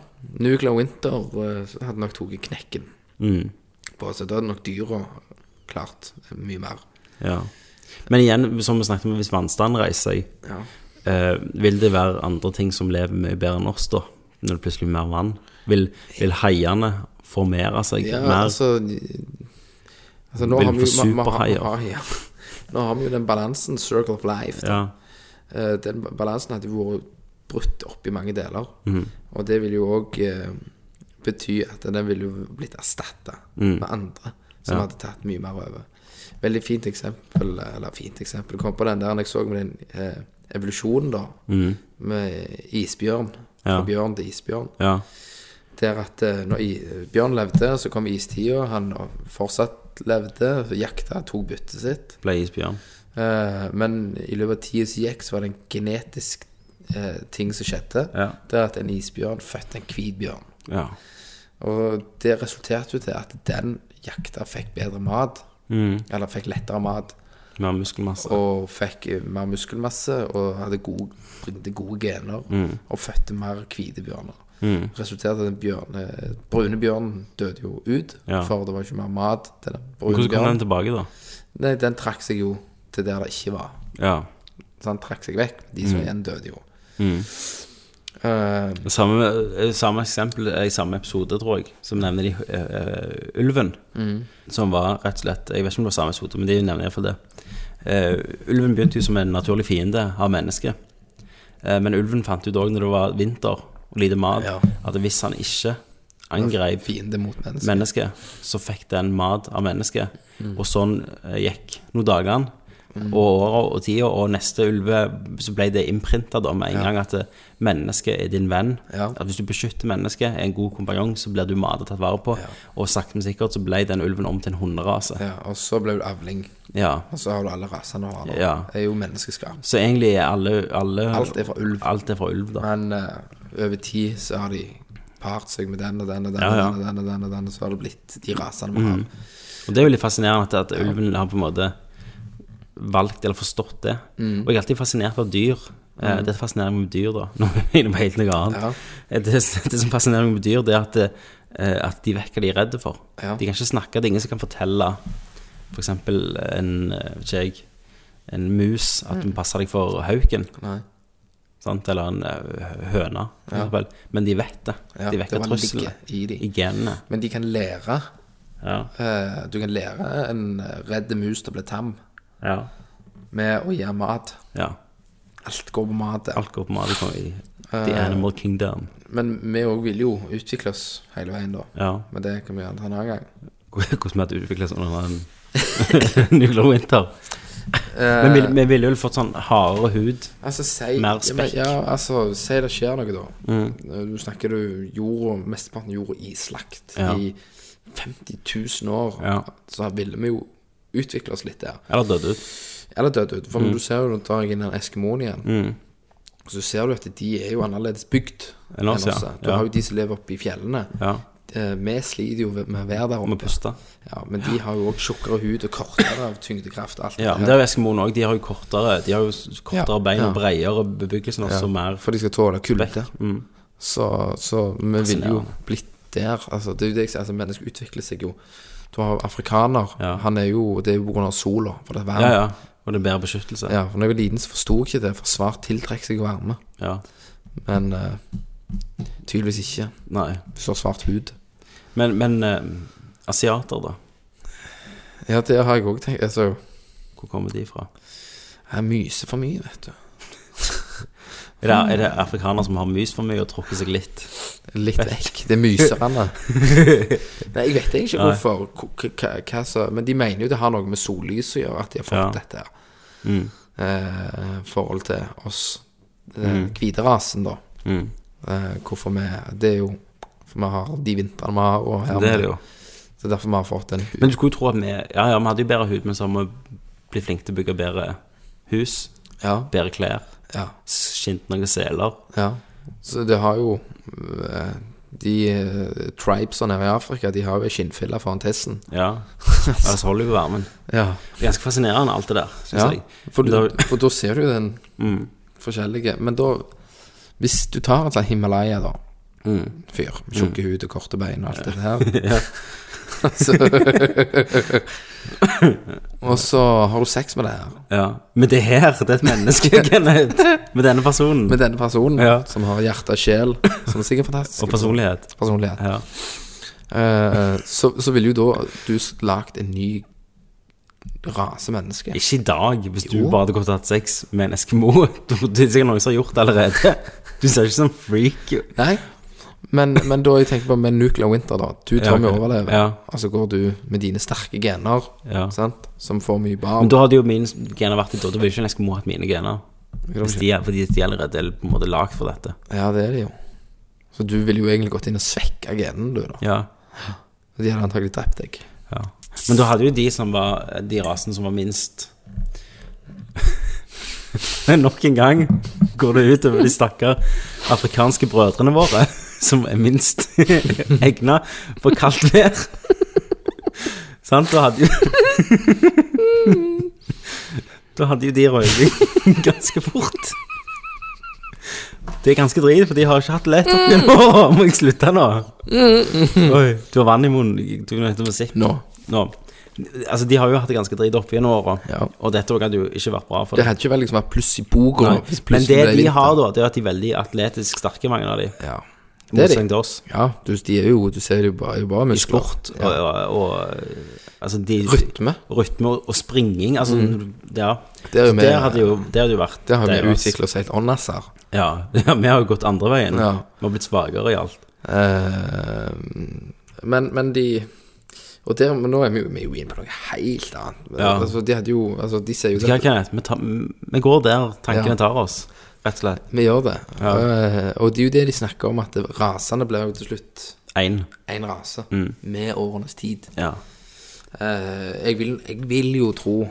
D: Nuclear Winter eh, hadde nok tatt knekken
A: Mm.
D: på oss. Da hadde nok dyra klart mye mer.
A: Ja. Men igjen, som vi snakket om, hvis vannstanden reiser seg,
D: Ja.
A: eh, vil det være andre ting som lever mye bedre enn oss da? Når det plutselig blir mer vann? Vil, vil haiene formere seg
D: Ja,
A: mer?
D: altså Altså, nå
A: Vil
D: har, vi,
A: få
D: jo- vi, vi,
A: superhaier.
D: har, [LAUGHS] ja. nå har vi jo den balansen, circle of life. da.
A: ja.
D: Eh, Den balansen hadde jo vært brutt opp i mange deler.
A: Mm,
D: Og det vil jo òg bety at den ville jo blitt erstatta med andre
A: Mm.
D: som
A: Ja.
D: hadde tatt mye mer over. Veldig fint eksempel, eller fint eksempel, kom på den der jeg så med den eh, evolusjonen, da.
A: mm.
D: Med isbjørn. Fra
A: Ja.
D: bjørn til isbjørn.
A: ja.
D: Der at eh, når i, bjørn levde, så kom istida. Han fortsatt levde, jakta, tok byttet sitt.
A: Ble isbjørn.
D: Eh, men i løpet av tida som gikk, så var det en genetisk eh, ting som skjedde.
A: Ja.
D: Det er at en isbjørn fødte en hvit bjørn.
A: Ja.
D: Og det resulterte jo til at den jakta fikk bedre mat.
A: Mm.
D: Eller fikk lettere mat.
A: Mer muskelmasse.
D: Og fikk eh, mer muskelmasse og hadde gode, brukte gode gener.
A: Mm.
D: Og fødte mer hvite bjørner. Resulterte i at den bjørn, eh, brune bjørnen døde jo ut,
A: Ja.
D: for det var ikke mer mat til den brune
A: Hvordan kom den
D: bjørnen.
A: tilbake, da?
D: Nei, den trakk seg jo til der det ikke var.
A: Ja.
D: Så han trakk seg vekk. De
A: Mm.
D: som igjen døde, jo. Eh,
A: Samme, eh, samme eksempel eh, i samme episode, tror jeg, som nevner de eh, ulven.
D: Mm.
A: Som var rett og slett Jeg vet ikke om det var samme episode, men de nevner iallfall det. Eh, ulven begynte jo som en naturlig fiende av mennesket. Eh, men ulven fant ut òg når det var vinter og lite mat,
D: Ja. Altså,
A: at hvis han ikke angrep
D: fiende mot mennesker.
A: mennesket, så fikk den mat av mennesket.
D: Mm.
A: Og sånn eh, gikk noen dagene. Og åra og tida og neste ulve, så ble det imprinta da med en gang at eh, mennesket er din venn.
D: Ja.
A: At hvis du beskytter mennesket, er en god kompanjong, så blir du matet og tatt vare på.
D: Ja.
A: Og sakte, men sikkert så ble den ulven om til en hunderase.
D: Ja, og så ble det avling.
A: Ja.
D: Og så har du alle rasene du har. nå.
A: Ja.
D: Det er jo menneskeskapt.
A: Så egentlig er alle, alle
D: Alt er fra ulv.
A: Alt er fra ulv, da.
D: Men eh, over tid så har de part seg med den og den og den,
A: Ja, ja. Mm.
D: og den, og den, og den, og den, og så har det blitt de rasene vi har.
A: Og det er jo litt fascinerende at, at ulven har på en måte valgt eller forstått det.
D: Mm.
A: Og jeg er alltid fascinert av dyr. Eh, Det fascinerer meg med dyr, da. [LAUGHS] Nå er vi inne på helt noe annet.
D: Ja.
A: Eh, Det, [LAUGHS] det som fascinerer meg med dyr, det er at, eh, at de vet hva de er redde for.
D: Ja.
A: De kan ikke snakke, det er ingen som kan fortelle f.eks. For en eh, vet ikke jeg, en mus at
D: Mm.
A: du passer deg for hauken.
D: Nei.
A: Sant? Eller en eh, høne. for eksempel. Men de vet det.
D: Ja,
A: de vet
D: det
A: hva
D: var
A: trusselen
D: ligge i de.
A: i genene.
D: Men de kan lære.
A: Ja.
D: eh, du kan lære en eh, redd mus til å bli tam
A: Ja.
D: med å gi ham mat.
A: ja.
D: Alt går på mat. der.
A: Alt går på mat. Det kommer i The
D: Eh.
A: Animal Kingdom.
D: Men vi òg vil jo utvikle oss hele veien, da.
A: Ja. [LAUGHS]
D: Men det kan vi gjøre en annen gang. [LAUGHS]
A: Hvordan vi hadde utviklet oss under en nuclear winter.
D: Eh,
A: Men vi, vi ville vel fått sånn hardere hud.
D: altså, si,
A: mer
D: ja, men,
A: spekk. Mm.
D: ja, altså, si det skjer noe, da. Eh, Du snakker du jorda, mesteparten av jorda islagt
A: Ja.
D: i 50 000 år.
A: Ja.
D: Så ville vi jo utvikle oss litt der.
A: Eller døde ut.
D: Eller dødd ut.
A: Mm.
D: For når du ser jo når du drar inn den Eskimoen igjen, så ser du at de er jo annerledes bygd
A: Enn oss, ja.
D: Du
A: Ja.
D: har jo de som lever oppe i fjellene.
A: Ja.
D: Eh, Vi sliter jo med å være der
A: Må
D: oppe.
A: puste.
D: Ja, men de har jo òg tjukkere hud og kortere av tyngdekraft. Alt
A: Ja, men det er jo Eskimoene òg. De har jo kortere De har jo s- kortere
D: Ja.
A: bein og
D: Ja.
A: bredere bebyggelse og
D: Ja,
A: så mer
D: For de skal tåle kulde.
A: Mm.
D: Så, så vi ville jo
A: Fascinerende.
D: blitt der. Altså, det er jo det jeg sier, altså, mennesker utvikler seg jo. Du har afrikaner.
A: Ja.
D: Han er jo, det er jo pga. sola. For det er
A: Ja,
D: varmt.
A: ja. Og det er bedre beskyttelse.
D: Ja, for når jeg var liten, så forsto jeg ikke det, for svart tiltrekker seg varme.
A: Ja.
D: Men eh, tydeligvis ikke.
A: Nei.
D: Hvis du har svart hud.
A: Men, men eh, asiater, da?
D: Ja, det har jeg òg tenkt. Altså,
A: Hvor kommer de fra?
D: jeg myser for mye, vet du.
A: Er det, er det afrikanere som har myst for mye og trukket seg litt?
D: Litt vekk. Det er
A: [LAUGHS]
D: myserne. Nei, jeg vet egentlig ikke
A: Nei.
D: hvorfor. K- k- hva- hva så- Men de mener jo det har noe med sollys å gjøre, at de har fått
A: Ja.
D: dette her.
A: Mm.
D: Eh, forhold til oss eh, hvite rasen, da.
A: Mm.
D: Eh, hvorfor vi Det er jo For vi har de vintrene vi har, og her
A: Det er det jo.
D: Så derfor vi har fått en hud.
A: Men du skulle jo tro at vi Ja, ja, vi hadde jo bedre hud, men så har vi blitt flinke til å bygge bedre hus,
D: Ja,
A: bedre klær,
D: ja,
A: skint noen seler.
D: ja. Så det har jo eh, De eh, tribesene her i Afrika, de har jo ei skinnfille foran tissen.
A: Ja. Ellers holder jo varmen.
D: Ja.
A: Ganske fascinerende, alt det der, syns
D: Ja,
A: jeg. Mm,
D: for,
A: Men da-
D: da, for da ser du jo den forskjellige Men da Hvis du tar en sånn Himalaya, da.
A: mm.
D: Fyr. med Tjukke hud og korte bein og alt dette
A: [LAUGHS]
D: her. så, [LAUGHS] og så har du sex med det her.
A: ja. Men det her, det er et
D: [LAUGHS]
A: menneske, Kenneth. Med denne personen.
D: Med denne personen
A: Ja.
D: som har hjerte og sjel, som er sikkert fantastisk.
A: og personlighet.
D: personlighet.
A: Ja.
D: Eh, så, så ville jo da du lagd en ny rase mennesker.
A: Ikke i dag, hvis du bare hadde gått og hatt sex med en eskimo. [LAUGHS] Du- Det er sikkert noen som har gjort det allerede. Du ser ikke sånn freak ut.
D: Nei, men, men da jeg tenker på med Nuclear Winter, da. Du tar
A: Ja,
D: med
A: ok.
D: overleve,
A: Ja.
D: og så går du med dine sterke gener,
A: Ja.
D: sant? som får mye
A: Men
D: barn.
A: da hadde jo mine gener vært i Da ville ikke en eskimo hatt mine gener.
D: Ikke
A: Hvis
D: sant?
A: de, er- fordi de allerede er på en måte lagd for dette.
D: Ja, det er det jo. Så du ville jo egentlig gått inn og svekka genene, du, da.
A: Ja.
D: De hadde antakelig drept deg.
A: ja. Men da hadde jo de som var De rasene som var minst [LAUGHS] Nok en gang går det ut over de stakkar afrikanske brødrene våre, [LAUGHS] som er minst [LAUGHS] egna for kaldt vær. [LAUGHS] Sant? Da hadde jo [LAUGHS] Da hadde jo de røyking [LAUGHS] ganske fort. Det er ganske drit, for de har ikke hatt det lett oppi nå. Må jeg slutte nå? Oi, du har vann i munnen. Du kan høre musikk
D: Nå.
A: nå. Altså, de har jo hatt det ganske drit opp gjennom åra,
D: Ja.
A: og dette også hadde jo ikke vært bra for
D: Det
A: dem.
D: hadde ikke vel liksom vært pluss i boka
A: Nei.
D: nå, hvis
A: Men
D: plutselig
A: det
D: ble
A: de
D: vinter.
A: har, da, det er at de er veldig atletisk sterke, mange av de.
D: Ja. Det er
A: Motsetning
D: de.
A: til oss.
D: Ja, du, de er jo, du ser det jo bare, er jo bare
A: I
D: muskler.
A: sport og,
D: Ja.
A: og, og Altså, de
D: Rytme.
A: Rytme og, og springing. Altså, ja.
D: Mm. Det er jo
A: Så
D: mer-
A: der hadde jo, det hadde jo vært
D: Det har vi
A: deres.
D: utvikla oss helt åndas her.
A: Ja. [LAUGHS] ja, vi har jo gått andre veien.
D: Ja.
A: Vi har blitt svakere i alt.
D: Eh, men, men de Og der, men nå er vi jo, vi er jo inne på noe helt annet.
A: Ja.
D: Altså, de hadde jo Altså, de sier jo
A: Hva,
D: det.
A: Kenneth? Vi, tar, vi går der tankene
D: Ja.
A: tar oss, rett og slett.
D: Vi gjør det. Eh, og det er jo det de snakker om, at rasene blir jo til slutt
A: Én.
D: én rase
A: Mm.
D: med årenes tid.
A: Ja.
D: Eh, jeg, vil, jeg vil jo tro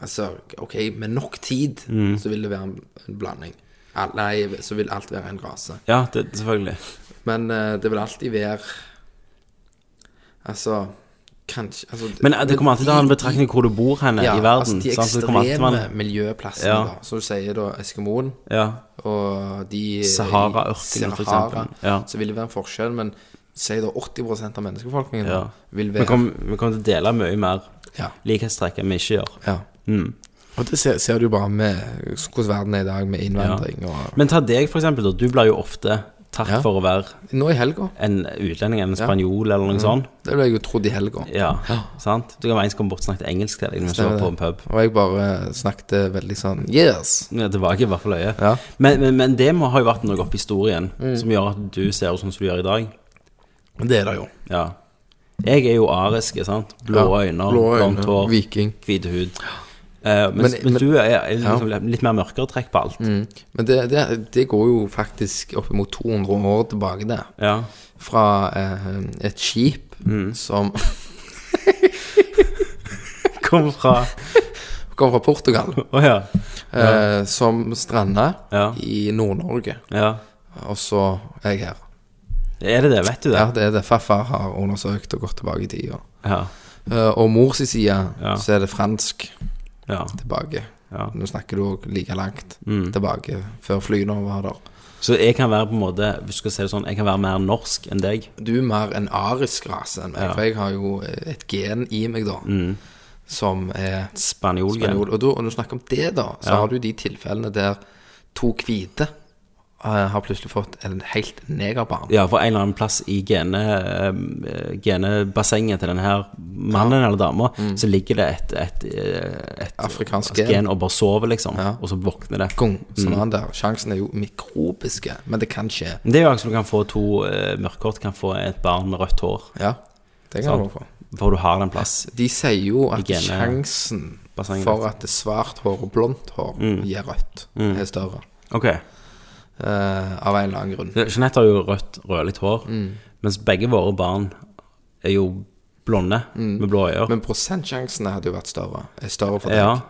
D: Altså, OK, med nok tid
A: Mm.
D: så vil det være en, en blanding. Al- nei, så vil alt være en rase.
A: ja, det, selvfølgelig.
D: Men eh, det vil alltid være Altså Kanskje altså,
A: Men eh, det kommer alltid til å ha en
D: de- altså,
A: betraktning hvor du bor henne i verden.
D: de
A: sant? Så det kommer alltid til å
D: ekstreme
A: være en-
D: miljøplassene,
A: Ja.
D: da. Som du sier, da, Eskimoen
A: Ja.
D: og de
A: Sahara-ørkenen,
D: i
A: for
D: eh, Sahara,
A: eksempel. Ja.
D: Så vil det være en forskjell, men si da 80 av menneskebefolkningen
A: ja.
D: da, vil
A: Vi
D: være
A: kommer vi kommer til å dele mye mer
D: Ja.
A: likhetstrekk enn vi ikke gjør. Mm.
D: ja. Og det ser, ser du jo bare med hvordan verden er i dag, med innvandring og
A: Men ta deg, for eksempel. Da. Du blir jo ofte tatt
D: Ja.
A: for å være
D: Nå i helga.
A: en utlending, en spanjol eller
D: Mm.
A: noe sånt.
D: Det ble jeg jo trodd i helga.
A: Ja, sant? Du kan være en som kommer bort og snakker engelsk til deg når du står på en pub.
D: Og jeg bare snakket veldig sånn Yes!
A: Ja, tilbake i hvert fall øyet.
D: Ja.
A: Men, men, men det må ha jo vært noe oppi historien
D: Mm.
A: som gjør at du ser ut sånn som du gjør i dag.
D: Det er det jo.
A: Ja. Jeg er jo arisk, sant? Blå
D: Ja.
A: øyne,
D: Blå øyne,
A: blondt hår,
D: viking.
A: hvit hud. Eh, mens,
D: Men-
A: mens
D: men-
A: du er, er liksom litt mer mørkere trekk på alt.
D: Mm. Men det, det, det går jo faktisk opp mot 200 år tilbake der.
A: Ja.
D: Fra eh, et skip
A: Mm.
D: som [LAUGHS]
A: Kom fra
D: kom fra Portugal,
A: [LAUGHS] Å ja.
D: eh, som stranda
A: Ja.
D: i Nord-Norge.
A: ja.
D: Og så er jeg her.
A: Er det det? Vet du det?
D: Ja, det er det farfar har undersøkt og gått tilbake i tida.
A: Ja.
D: Eh, og mors side
A: Ja.
D: så er det fransk
A: ja.
D: tilbake.
A: Ja. Mm.
D: Nå snakker du òg like langt tilbake, før flyene var der.
A: Så jeg kan være på en måte Hvis du skal si det sånn Jeg kan være mer norsk enn deg.
D: Du er mer en arisk rase enn meg,
A: Ja. Mm.
D: for jeg har jo eh, et gen i meg, da, som er
A: Spanjol. ja.
D: spanjol. Og da, når du snakker om det, da, så har du de tilfellene der to hvite eh, har plutselig fått en helt negerbarn.
A: Ja, for en eller annen plass i gene, eh, genebassenget til denne her mannen eller dama, så ligger det et, et, eh, et
D: Afrikansk
A: Mm. gen.
D: gen.
A: og bare sover, liksom. Og så våkner det.
D: Gong, sånn
A: Mm.
D: han der. Sjansen er jo mikrobiske, men det kan skje.
A: Men Det er jo akkurat som du kan få to uh, mørkhåret kan få et barn med rødt hår.
D: Ja, det kan du få.
A: For du har den plass.
D: De sier jo at
A: Hygiene-
D: sjansen
A: bassenget. Mm.
D: for at det er svart hår og blondt hår gir rødt, er større.
A: Ok.
D: Eh, av en eller annen grunn.
A: Jeanette har jo rødt, rødlig hår,
D: Mm.
A: mens begge våre barn er jo blonde med blå øyne.
D: Mm. Men prosentsjansene hadde jo vært større. Er større for deg.
A: Ja.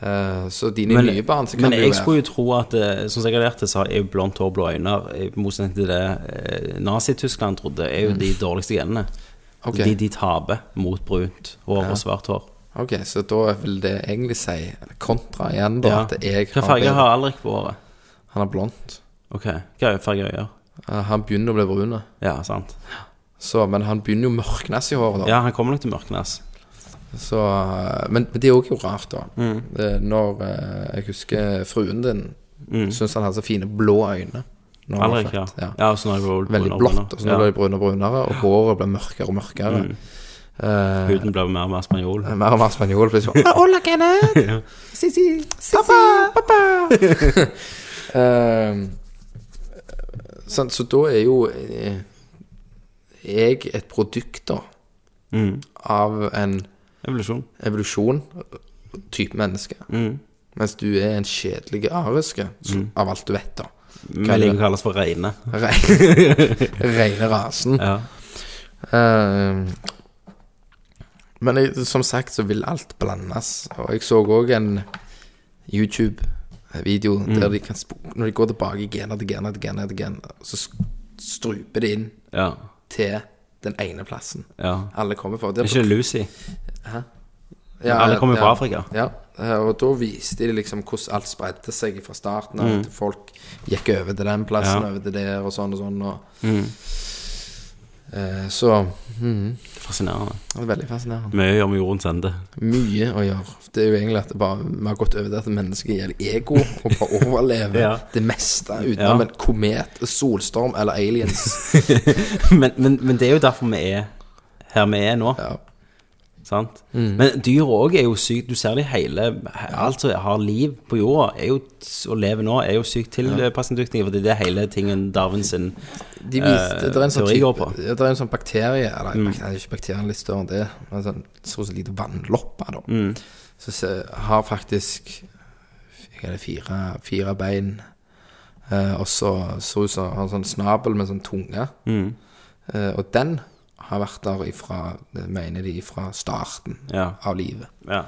D: Eh, så dine
A: Men,
D: nye barn så kan
A: men
D: det jo
A: jeg
D: være
A: skulle jo tro at eh, Som jeg har lært det, så er jo blondt hår, blå øyne I motsetning til det eh, Nazi-Tyskland trodde, er jo de dårligste genene.
D: Mm. Ok.
A: De de taper mot brunt hår og svart hår.
D: Ok, så da vil det egentlig si kontra igjen, da. At jeg
A: Hva farge
D: bedre-
A: har Alrik på håret?
D: Han er blondt.
A: Ok, Hva er farge øyne?
D: Eh, han begynner å bli brun.
A: Ja, sant.
D: Så, men han begynner jo å mørknes i håret, da.
A: Ja, han kommer nok til mørknes.
D: Så, eh, men, men det er også jo rart, da.
A: Mm.
D: Eh, når eh, jeg husker fruen din
A: Mm.
D: syntes han hadde så fine blå øyne. når han var
A: Alrik, ja.
D: født.
A: ja. og så når jeg var
D: Veldig
A: brun-
D: blått, og så
A: ja. Mm.
D: ble det brunere og brunere, og håret ble mørkere og mørkere. Eh,
A: Huden ble mer og mer spanjol.
D: Mer og mer spanjol plutselig.
A: [LAUGHS]
D: Ah, Hola, Kenneth! Si, si. Pappa! [LAUGHS] Ehm, sant, så da er jo eh, jeg et produkt da av en
A: Mm. Evolusjon. Mm.
D: evolusjon, type menneske. Mens du er en kjedelig ariske, så- av alt du
A: [LAUGHS]
D: vet, da.
A: Vi liker å kalles for reine.
D: Reine, reine rasen.
A: Ja.
D: Ehm, men jeg, som sagt så vil alt blandes. Og jeg så òg en YouTube-video
A: Mm.
D: der de kan sp- Når de går tilbake i gener til gener til gener, til gener så s- struper de inn
A: ja.
D: til den ene plassen.
A: ja.
D: Alle kommer fra
A: Er ikke det Lucy?
D: ja,
A: alle kommer fra
D: ja,
A: Afrika.
D: Ja. Eh, Og da viste de liksom hvordan alt spredte seg fra starten av. At folk gikk over til den plassen,
A: Mm. Ja.
D: over til der, og sånn og sånn. Og,
A: Mm.
D: Eh, så mhm,
A: Fascinerende.
D: det er veldig fascinerende.
A: Mye gjør med jordens ende.
D: mye å gjøre. Det er jo egentlig at det bare, vi har gått over det at mennesket gjelder ego, og bare overlever
A: [LAUGHS] Ja.
D: det meste
A: Ja.
D: utenom en komet, solstorm eller aliens.
A: [LAUGHS] men, men, men det er jo derfor vi er her vi er nå.
D: Ja.
A: Sant? Men dyr òg er jo sykt Du ser det i hele he- Alt som har liv på jorda, er jo, og lever nå, er jo sykt tilpasningsdyktige. Fordi det er hele tingen Darwin sin
D: De viste,
A: Eh, Mm.
D: det, er en sånn
A: teori går
D: type,
A: på.
D: det er en sånn bakterie Eller det er ikke bakterien litt større enn det, men sånn, så så lite vannloppe, da.
A: Mm.
D: Så, se, har faktisk hva er det, fire, fire bein, eh, og så ser ut som har en sånn snabel med sånn tunge.
A: Mm.
D: Eh, og den har vært der ifra, det mener de, fra starten
A: Ja.
D: av livet.
A: Ja.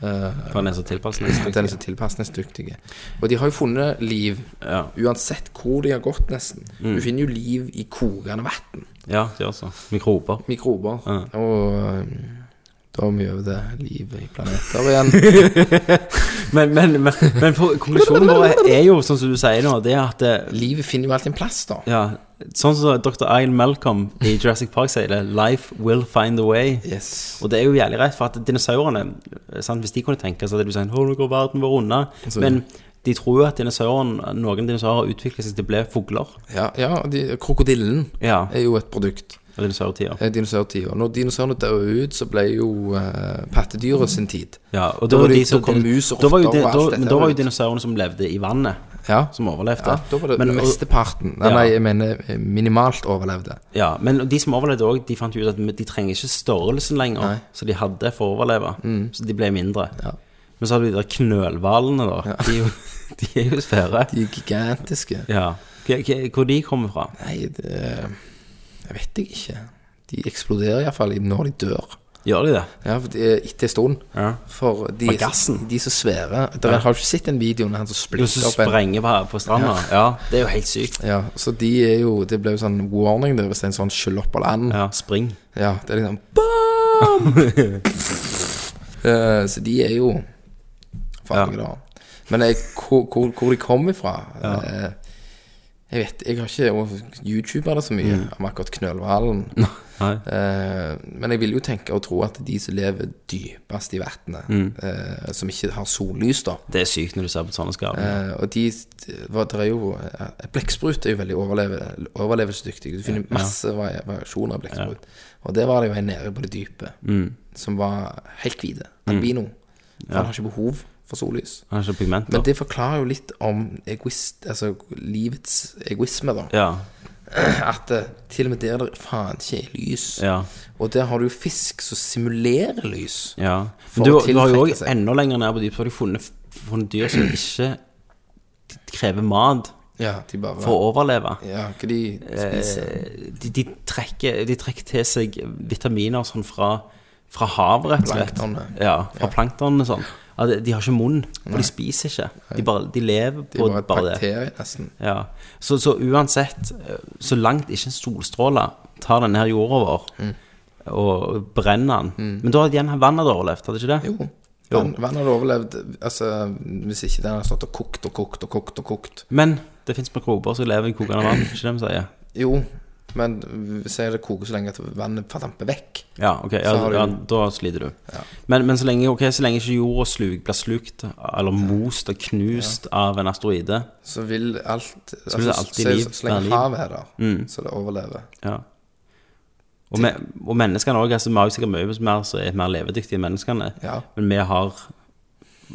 A: For han er så
D: At den er
A: tilpasningsdyktig.
D: så tilpasningsdyktige. Og de har jo funnet liv
A: Ja. Mm.
D: uansett hvor de har gått, nesten. Du finner jo liv i kokende vann.
A: ja, det gjør så. Mikrober.
D: mikrober. Og um, da er vi over det livet i planeter igjen. [LAUGHS]
A: Men, men, men, men for, konklusjonen vår er jo, sånn som du sier nå, det er at eh,
D: livet finner jo alltid en plass, da.
A: ja, Sånn som dr. Ian Malcolm i Jurassic Park sier det, 'Life will find a way'.
D: Yes.
A: Og det er jo jævlig rett, for at dinosaurene eh, sant, Hvis de kunne tenke seg, så hadde de sagt Å, nå går verden vår unna. Men de tror jo at dinosaurene, noen dinosaurer har utviklet seg til å bli fugler.
D: Ja, ja og de, krokodillen
A: Ja.
D: er jo et produkt.
A: Av dinosaurtida.
D: eh, Dinosaurtida. Når dinosaurene dør ut, så ble jo uh, pattedyret sin tid.
A: Ja, og
D: Da
A: da,
D: var
A: var
D: det-
A: de som-
D: da kom mus og
A: da var jo
D: rotter
A: de-
D: og alt
A: da-
D: dette
A: Men da var
D: ut.
A: jo dinosaurene som levde i vannet,
D: Ja.
A: som overlevde.
D: ja da var det
A: men, og-
D: mesteparten. Nei,
A: Ja.
D: nei, jeg mener eh, minimalt overlevde.
A: Ja, men de som overlevde òg, de fant jo ut at de trenger ikke størrelsen lenger
D: Nei.
A: som de hadde for å overleve. Så de ble mindre.
D: Ja.
A: Men så har du de der knølhvalene, da. De, er jo, de er jo svære.
D: De er gigantiske.
A: Ja. K- k- Hvor de kommer fra?
D: Nei, det Jeg vet jeg ikke. De eksploderer iallfall når de dør.
A: Gjør de det?
D: Ja, for de, etter en stund.
A: Ja.
D: For de,
A: Fra gassen.
D: de er så svære. Der, Har du ikke sett den videoen med han som
A: Jo,
D: splitter
A: som
D: opp en
A: sprenger på, på stranda. Ja. Det er jo helt sykt.
D: ja, så de er jo Det ble jo sånn warning der hvis det er en sånn skyll opp på land. Ja.
A: Ja, spring.
D: det er liksom BAM! Eh, så de er jo Faen, da. Men jeg, hvor, hvor, hvor de kommer fra eh, Jeg vet Jeg har ikke YouTuber det så mye om akkurat knølhvalen.
A: Nei.
D: Eh, men jeg vil jo tenke og tro at de som lever dypest i vannet, eh, som ikke har sollys, da
A: Det er sykt når du ser på sånne skapninger.
D: eh, Og de var, der er jo eh, Blekksprut er jo veldig overleve, overlevelsesdyktig. Du finner masse vari- variasjoner av blekksprut. Og der var det jo en nede på det dype
A: Mm.
D: som var helt hvit. Albino. Han har ikke behov for sollys.
A: Han har ikke pigment.
D: Men
A: da.
D: det forklarer jo litt om egoist, altså livets egoisme, da.
A: Ja.
D: [CLEARS THROAT] At eh, til og med der det faen ikke er lys,
A: Ja.
D: og der har du jo fisk som simulerer lys.
A: ja.
D: For
A: Men du,
D: å
A: du har jo
D: tiltrekke
A: òg
D: seg.
A: enda lenger ned på dypet, så har du funnet, funnet dyr som ikke krever mat
D: Ja, de bare
A: for å overleve.
D: Ja, hva de spiser.
A: Eh, de, de, trekker, de trekker til seg vitaminer sånn fra, fra havet, rett og slett.
D: Planktonet.
A: Ja, fra planktonene sånn. Ja, de, de har ikke munn, for de spiser ikke. De, bare, de lever
D: Det er
A: på
D: bare et
A: bare det.
D: bakterie, nesten.
A: Ja. Så, så uansett, eh, så langt ikke en solstråle tar denne her jorda vår
D: Mm.
A: og brenner den Men da hadde igjen vannet overlevd, hadde ikke det?
D: Jo. Vann vann hadde overlevd altså, hvis ikke den hadde stått og kokt og kokt og kokt og kokt.
A: Men det fins mikrober som lever i kokende vann, ikke det vi sier?
D: Jo, men si det koker så lenge at vannet fordamper vekk.
A: Ja, ok, ja,
D: Så har du-
A: ja, da sliter du. Men, men så lenge, ok, så lenge ikke jorda sluk, blir slukt, eller most og knust av en asteroide
D: Så vil alt altså,
A: vil det alltid
D: så-
A: liv
D: Så, så
A: være liv.
D: lenge havet er der, så det overlever.
A: Mm, ja. Og, me, og menneskene òg. Altså, vi har jo sikkert mye mer som er mer levedyktige enn menneskene,
D: Ja.
A: men vi har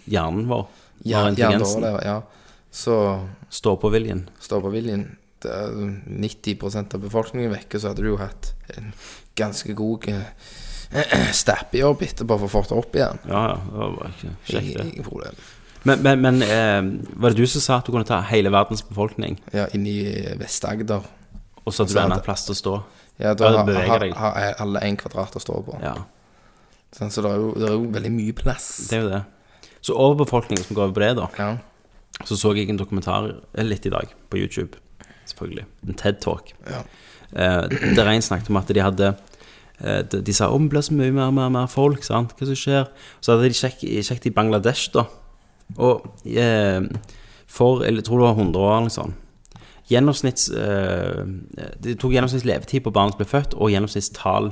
A: hjernen vår. vi
D: Ja,
A: har
D: gjerne
A: intelligensen.
D: overlever, ja. Så
A: Stå-på-viljen.
D: stoppeviljen det er jo 90 av befolkningen vekke, så hadde du jo hatt en ganske god eh, [CLEARS THROAT] stappjobb etterpå for å få det opp igjen.
A: Ja, ja. Det var bare ikke kjekt, det.
D: Ingen problem.
A: Men, men, men eh, var det du som sa at du kunne ta hele verdens befolkning,
D: Ja, inne i Vest-Agder.
A: og så hadde
D: Så
A: du enda
D: Altså, at-
A: plass til å stå?
D: Ja,
A: Ja,
D: da
A: det
D: har,
A: beveger
D: har,
A: deg.
D: har alle én kvadrat å stå på.
A: Ja.
D: Sånn, så det er, jo, det er jo veldig mye plass.
A: Det er jo det. Så overbefolkning, hvis vi går over på det, da.
D: Ja.
A: Så så jeg en dokumentar eh, litt i dag på YouTube, selvfølgelig. En TED Talk.
D: Ja.
A: Eh, der en snakket om at de hadde eh, de, de sa om det blir så mye mer, mer, mer folk, sant? hva som skjer? Så hadde de sjekk, sjekket i Bangladesh, da. Og eh, for eller, jeg tror det var 100 år, eller noe sånt. Gjennomsnitts eh, Det tok gjennomsnitts levetid på barn som ble født, og gjennomsnittstall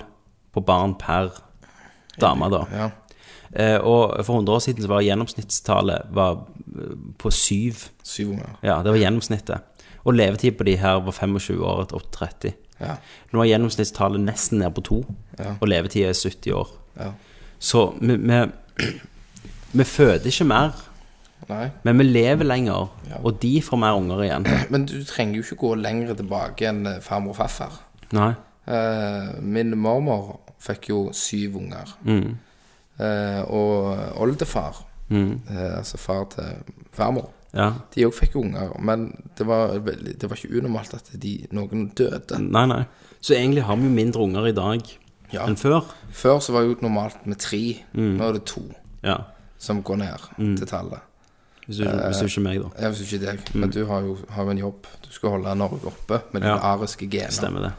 A: på barn per dame, da.
D: ja.
A: Eh, og for 100 år siden så var gjennomsnittstallet var eh, på syv.
D: Syv unger.
A: Ja, det var gjennomsnittet. Og levetid på de her var 25 år til 38.
D: Ja.
A: Nå er gjennomsnittstallet nesten ned på to,
D: Ja.
A: og levetid er 70 år.
D: ja.
A: Så vi, vi, [CLEARS THROAT] vi føder ikke mer,
D: Nei.
A: men vi lever lenger,
D: Ja.
A: og de får mer unger igjen.
D: Men du trenger jo ikke gå lenger tilbake enn eh, farmor og farfar.
A: Nei.
D: Eh, min mormor fikk jo syv unger.
A: Mm.
D: Eh, og oldefar, eh, altså far til farmor,
A: Mm. Ja.
D: de òg fikk unger. Men det var, veldig, det var ikke unormalt at de, noen døde.
A: Nei, nei. Så egentlig har vi jo mindre unger i dag
D: Ja.
A: enn før.
D: Før så var det jo normalt med tre.
A: Mm.
D: Nå er det to
A: Ja.
D: som går ned
A: Mm.
D: til tallet.
A: Hvis du, hvis
D: Eh,
A: du ikke er meg, da.
D: Jeg vet ikke deg, men du har jo, har jo en jobb. Du skal holde Norge oppe med dine
A: Mm. Ja.
D: ariske gener.
A: Stemmer det.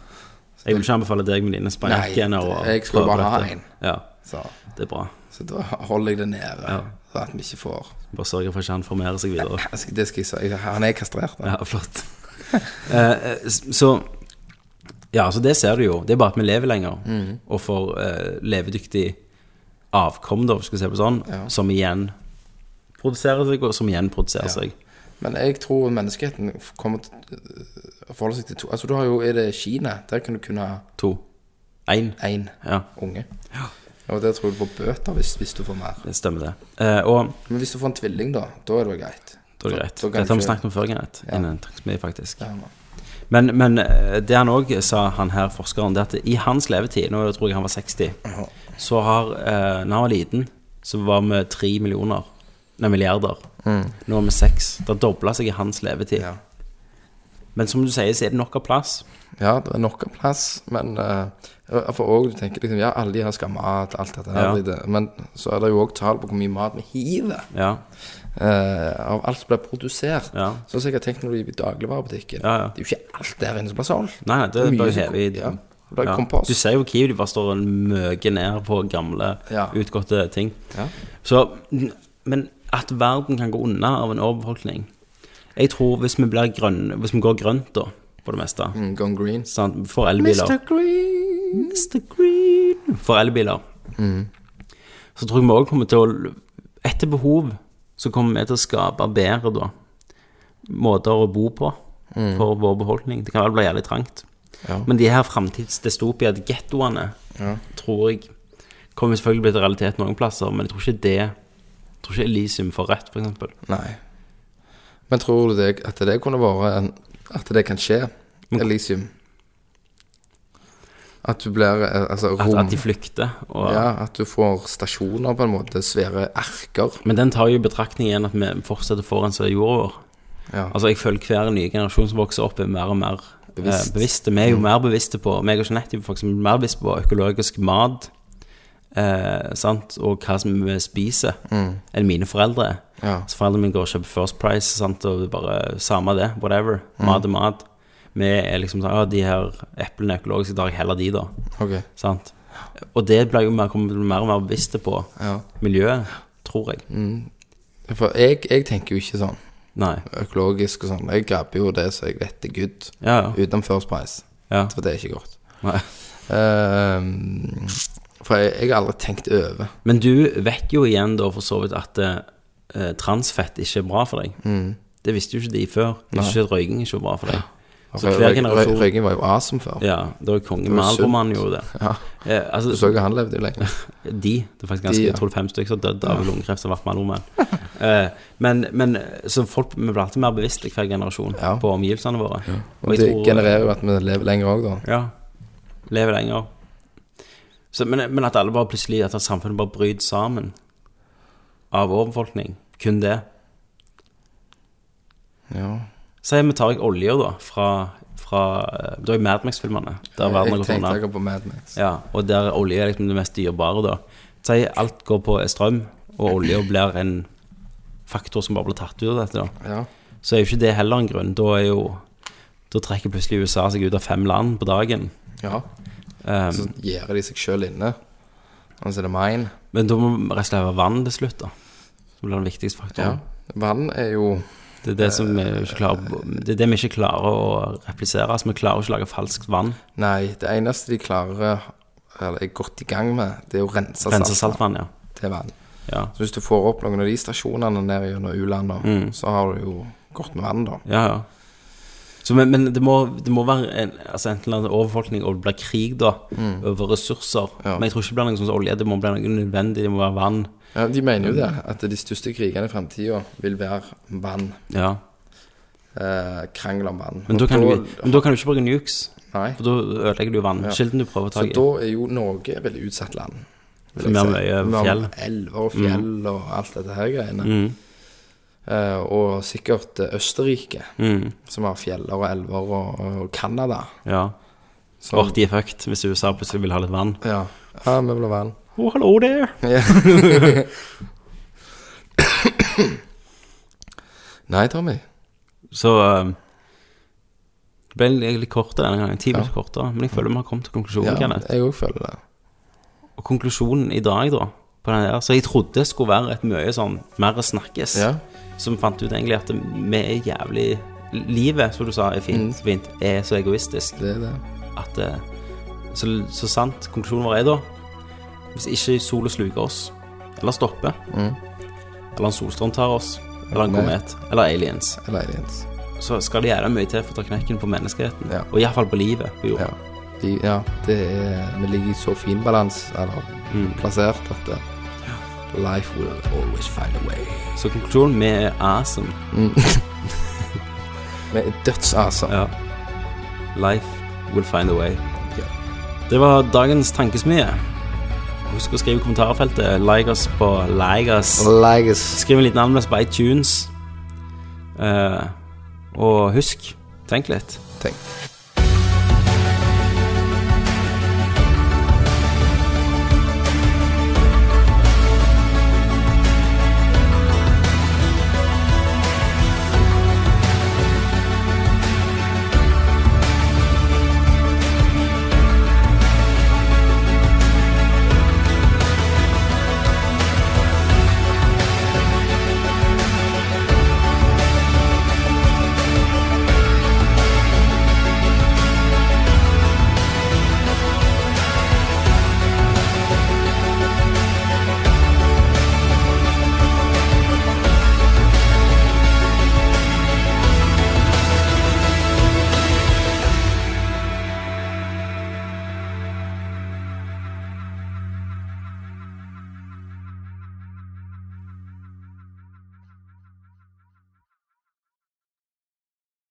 A: Jeg vil ikke anbefale deg med dine spanjakkene
D: Nei,
A: og
D: jeg skal
A: prøve
D: bare ha
A: dette.
D: en.
A: Ja,
D: Så,
A: det er bra.
D: så da holder jeg det nede, så at vi ikke får
A: Bare sørge for at ikke han formerer seg videre.
D: Jeg skal- Det skal jeg si. Jeg- Han er kastrert. da.
A: Ja, flott. [LAUGHS] Eh, eh, så Ja, så det ser du jo. Det er bare at vi lever lenger
D: Mm.
A: og får eh, levedyktig avkom, da, hvis vi skal se på sånn,
D: Ja.
A: som igjen produserer seg, og som igjen produserer seg.
D: Men jeg tror menneskeheten kommer til øh, å forholde seg til to Altså, du har jo Er det Kina? Der kan du kun ha
A: To. Én.
D: én
A: Ja,
D: unge. Og der tror jeg du får bøter hvis, hvis du får mer.
A: det stemmer, det. Eh, og
D: Men hvis du får en tvilling, da, da er det jo greit.
A: da er det greit.
D: Da kan
A: Dette har
D: du
A: vi
D: ikke-
A: snakket om før, Kenneth.
D: Ja.
A: Innen Takksmed, faktisk.
D: Ja, nå.
A: Men, men eh, det han òg sa, han her forskeren, det at i hans levetid, nå tror jeg han var 60, så har eh, Når han var liten, så var vi tre millioner. Nei, milliarder. Nå er vi seks. Det har dobla seg i hans levetid.
D: Mm. Ja.
A: Men som du sier, så er det nok av plass.
D: Ja, det er nok av plass, men eh, For òg du tenker liksom Ja, alle de her skal ha mat, alt dette her.
A: Ja.
D: det- Men så er det jo òg tall på hvor mye mat vi hiver
A: Ja,
D: eh, av alt som blir produsert.
A: Ja.
D: Sånn som jeg har tenkt når du er i dagligvarebutikken.
A: Ja, ja.
D: Det er jo ikke alt der inne som blir solgt.
A: Nei, nei, det
D: Mye
A: er bare
D: som-
A: hevet i
D: ja, det blir kompost.
A: Du ser jo Kiwi, de bare står og møker ned på gamle,
D: Ja.
A: utgåtte ting.
D: Ja.
A: Så, men at verden kan gå unna av en overbefolkning Jeg tror hvis vi, blir grønne, hvis vi går grønt, da, på det meste
D: Mm, Gone green.
A: sant? For elbiler
D: Green.
A: Mr. Green For elbiler
D: Mm.
A: Så tror jeg vi også kommer til å Etter behov Så kommer vi til å skape bedre da Måter å bo på
D: Mm.
A: For vår befolkning Det kan vel bli jævlig trangt
D: Ja.
A: Men de her fremtidsdystopia Gettoene Tror jeg Kommer selvfølgelig bli til realitet noen plasser Men jeg tror ikke det Jeg tror ikke Elysium får rett for eksempel
D: Nei. Men tror du det, at det kunne vært en, At det kan skje? Elisium. At du blir eh, Altså
A: At,
D: rom
A: at de flykter og,
D: Ja, at du får stasjoner, på en måte. Svære erker.
A: Men den tar jo i betraktning igjen At vi fortsetter foran seg jorda vår
D: Ja.
A: Altså, jeg føler hver nye generasjon som vokser opp, er mer og mer
D: Bevisst.
A: eh, bevisste. Vi er jo mer bevisste på meg og Jeanette er for eksempel mer bevisste på økologisk mat eh, sant? og hva som vi spiser, enn mine foreldre. er.
D: Ja.
A: Så Foreldrene mine går og kjøper First Price sant? og det er bare samme det, whatever. Mat er mat. Vi er liksom sånn Ja, de her eplene er økologiske, da har jeg heller de, da.
D: Ok.
A: Sant? Og det blir jo mer, kommer til å bli mer og mer bevisste på
D: Ja. Mm.
A: miljøet, tror jeg.
D: For jeg, jeg tenker jo ikke sånn
A: Nei.
D: økologisk og sånn. Jeg grabber jo det som jeg vet er good,
A: Ja, ja.
D: utenom First Price.
A: ja.
D: For det er ikke godt.
A: Nei.
D: Ehm, for jeg, jeg har aldri tenkt over.
A: Men du vet jo igjen da for så vidt at eh, transfett ikke er bra for deg.
D: Mm.
A: Det visste jo ikke de før. De visste ikke at røyking ikke var bra for deg. Så
D: Røy-
A: hver
D: røy-
A: generasjon
D: Røyking var jo awesome før.
A: Ja, det var jo kongen
D: var
A: med
D: sunt.
A: Alboman gjorde det.
D: Ja.
A: Eh,
D: Du så
A: altså,
D: jo han levde jo lenge.
A: de Det er faktisk ganske
D: De, ja.
A: jeg tror det er fem stykker som døde av lungekreft som har vært med Alboman. Eh, men, men så folk vi blir alltid mer bevisste hver generasjon
D: Ja.
A: på omgivelsene våre.
D: Og det genererer jo at vi lever lenger òg, da.
A: Ja. Lever lenger. Så, men, men at alle bare plutselig At samfunnet bare bryter sammen av overbefolkning. Kun det.
D: Ja.
A: Si vi tar jeg olja, da, fra, fra eh, Det var jo Mad Max-filmene. Der verden har
D: Jeg
A: gått
D: tenkte
A: unna.
D: akkurat på Mad Max.
A: sånn, Ja, og der olje er liksom det mest dyrebare, da. Si alt går på eh, strøm, og olja blir en faktor som bare blir tatt ut av dette, da.
D: Ja.
A: Så er jo ikke det heller en grunn. Da er jo Da trekker plutselig USA seg ut av fem land på dagen.
D: ja.
A: Eh,
D: Så gjerder de seg sjøl inne. Og så er det mine.
A: men da må vi rett og slett ha vann til slutt, da. Som blir den viktigste faktoren.
D: Vann er jo
A: Det er det, som vi ikke klarer, det er det vi ikke klarer å replisere. Altså, vi klarer ikke å lage falskt vann.
D: Nei, det eneste de klarer Eller er godt i gang med, det er å rense,
A: Rense
D: saltvann
A: saltvann, ja.
D: til vann.
A: ja.
D: Så hvis du får opp noen av de stasjonene nede gjennom u-landa,
A: Mm.
D: så har du jo godt med vann, da.
A: Ja, ja. Så, men men det, må, det må være en, altså enten en overbefolkning og det blir krig da, over ressurser.
D: Mm. Ja.
A: Men jeg tror ikke det blir noe sånn som olje. Det må bli noe nødvendig. Det må være vann.
D: Ja, de mener jo det, at de største krigene i framtida vil være vann.
A: Ja.
D: Eh, krangel om vann.
A: Men, da
D: Og
A: kan du, men da kan du ikke bruke nukes,
D: Nei.
A: for da ødelegger du vannkilden du prøver å ta
D: Så
A: i.
D: da er jo Norge et veldig utsatt land. vil
A: For
D: jeg
A: vi har
D: si.
A: mye
D: Vi har
A: fjell. Mm.
D: Elver og fjell og alt dette her greiene. Eh, og sikkert eh, Østerrike,
A: Mm,
D: som har fjeller og elver, og, og Canada.
A: ja.
D: som-
A: Åh, de er fucked hvis USA plutselig vil ha litt vann.
D: Ja. ja, vi vil ha vann.
A: Oh, hello there.
D: Ja. [LAUGHS] Nei, Tommy.
A: Så eh, det ble litt- litt kortere denne gangen. Ti
D: Ja.
A: minutter kortere. Men jeg føler vi har kommet til konklusjonen.
D: Ja,
A: Kenneth.
D: jeg òg føler det.
A: Og konklusjonen i dag, da, på den der, så jeg trodde det skulle være et mye sånn mer å snakkes,
D: Ja.
A: som fant ut egentlig at vi er jævlig Livet, som du sa, er
D: Mm.
A: fint, fint er så egoistisk
D: Det er det.
A: at eh, så, så sant konklusjonen vår er, da Hvis ikke sola sluker oss, eller stopper,
D: Mm.
A: eller en solstrøm tar oss, eller en
D: Nei.
A: komet, eller aliens,
D: Eller aliens.
A: så skal det gjerne mye til for å ta knekken på menneskeheten.
D: Ja.
A: Og iallfall på livet på
D: Ja.
A: jorda.
D: De, ja, det er Vi ligger i så fin balanse, eller
A: Mm.
D: plassert, at det, Life will always find a way.
A: Så konklusjonen vi er awesome.
D: Vi er dødsasa.
A: Ja. Life will find a way.
D: Ja.
A: Det var dagens tankesmie. Husk å skrive i kommentarfeltet. Like oss på like us.
D: Leges.
A: Skriv en liten anmeldelse på iTunes. Eh, og husk, tenk litt.
D: Tenk.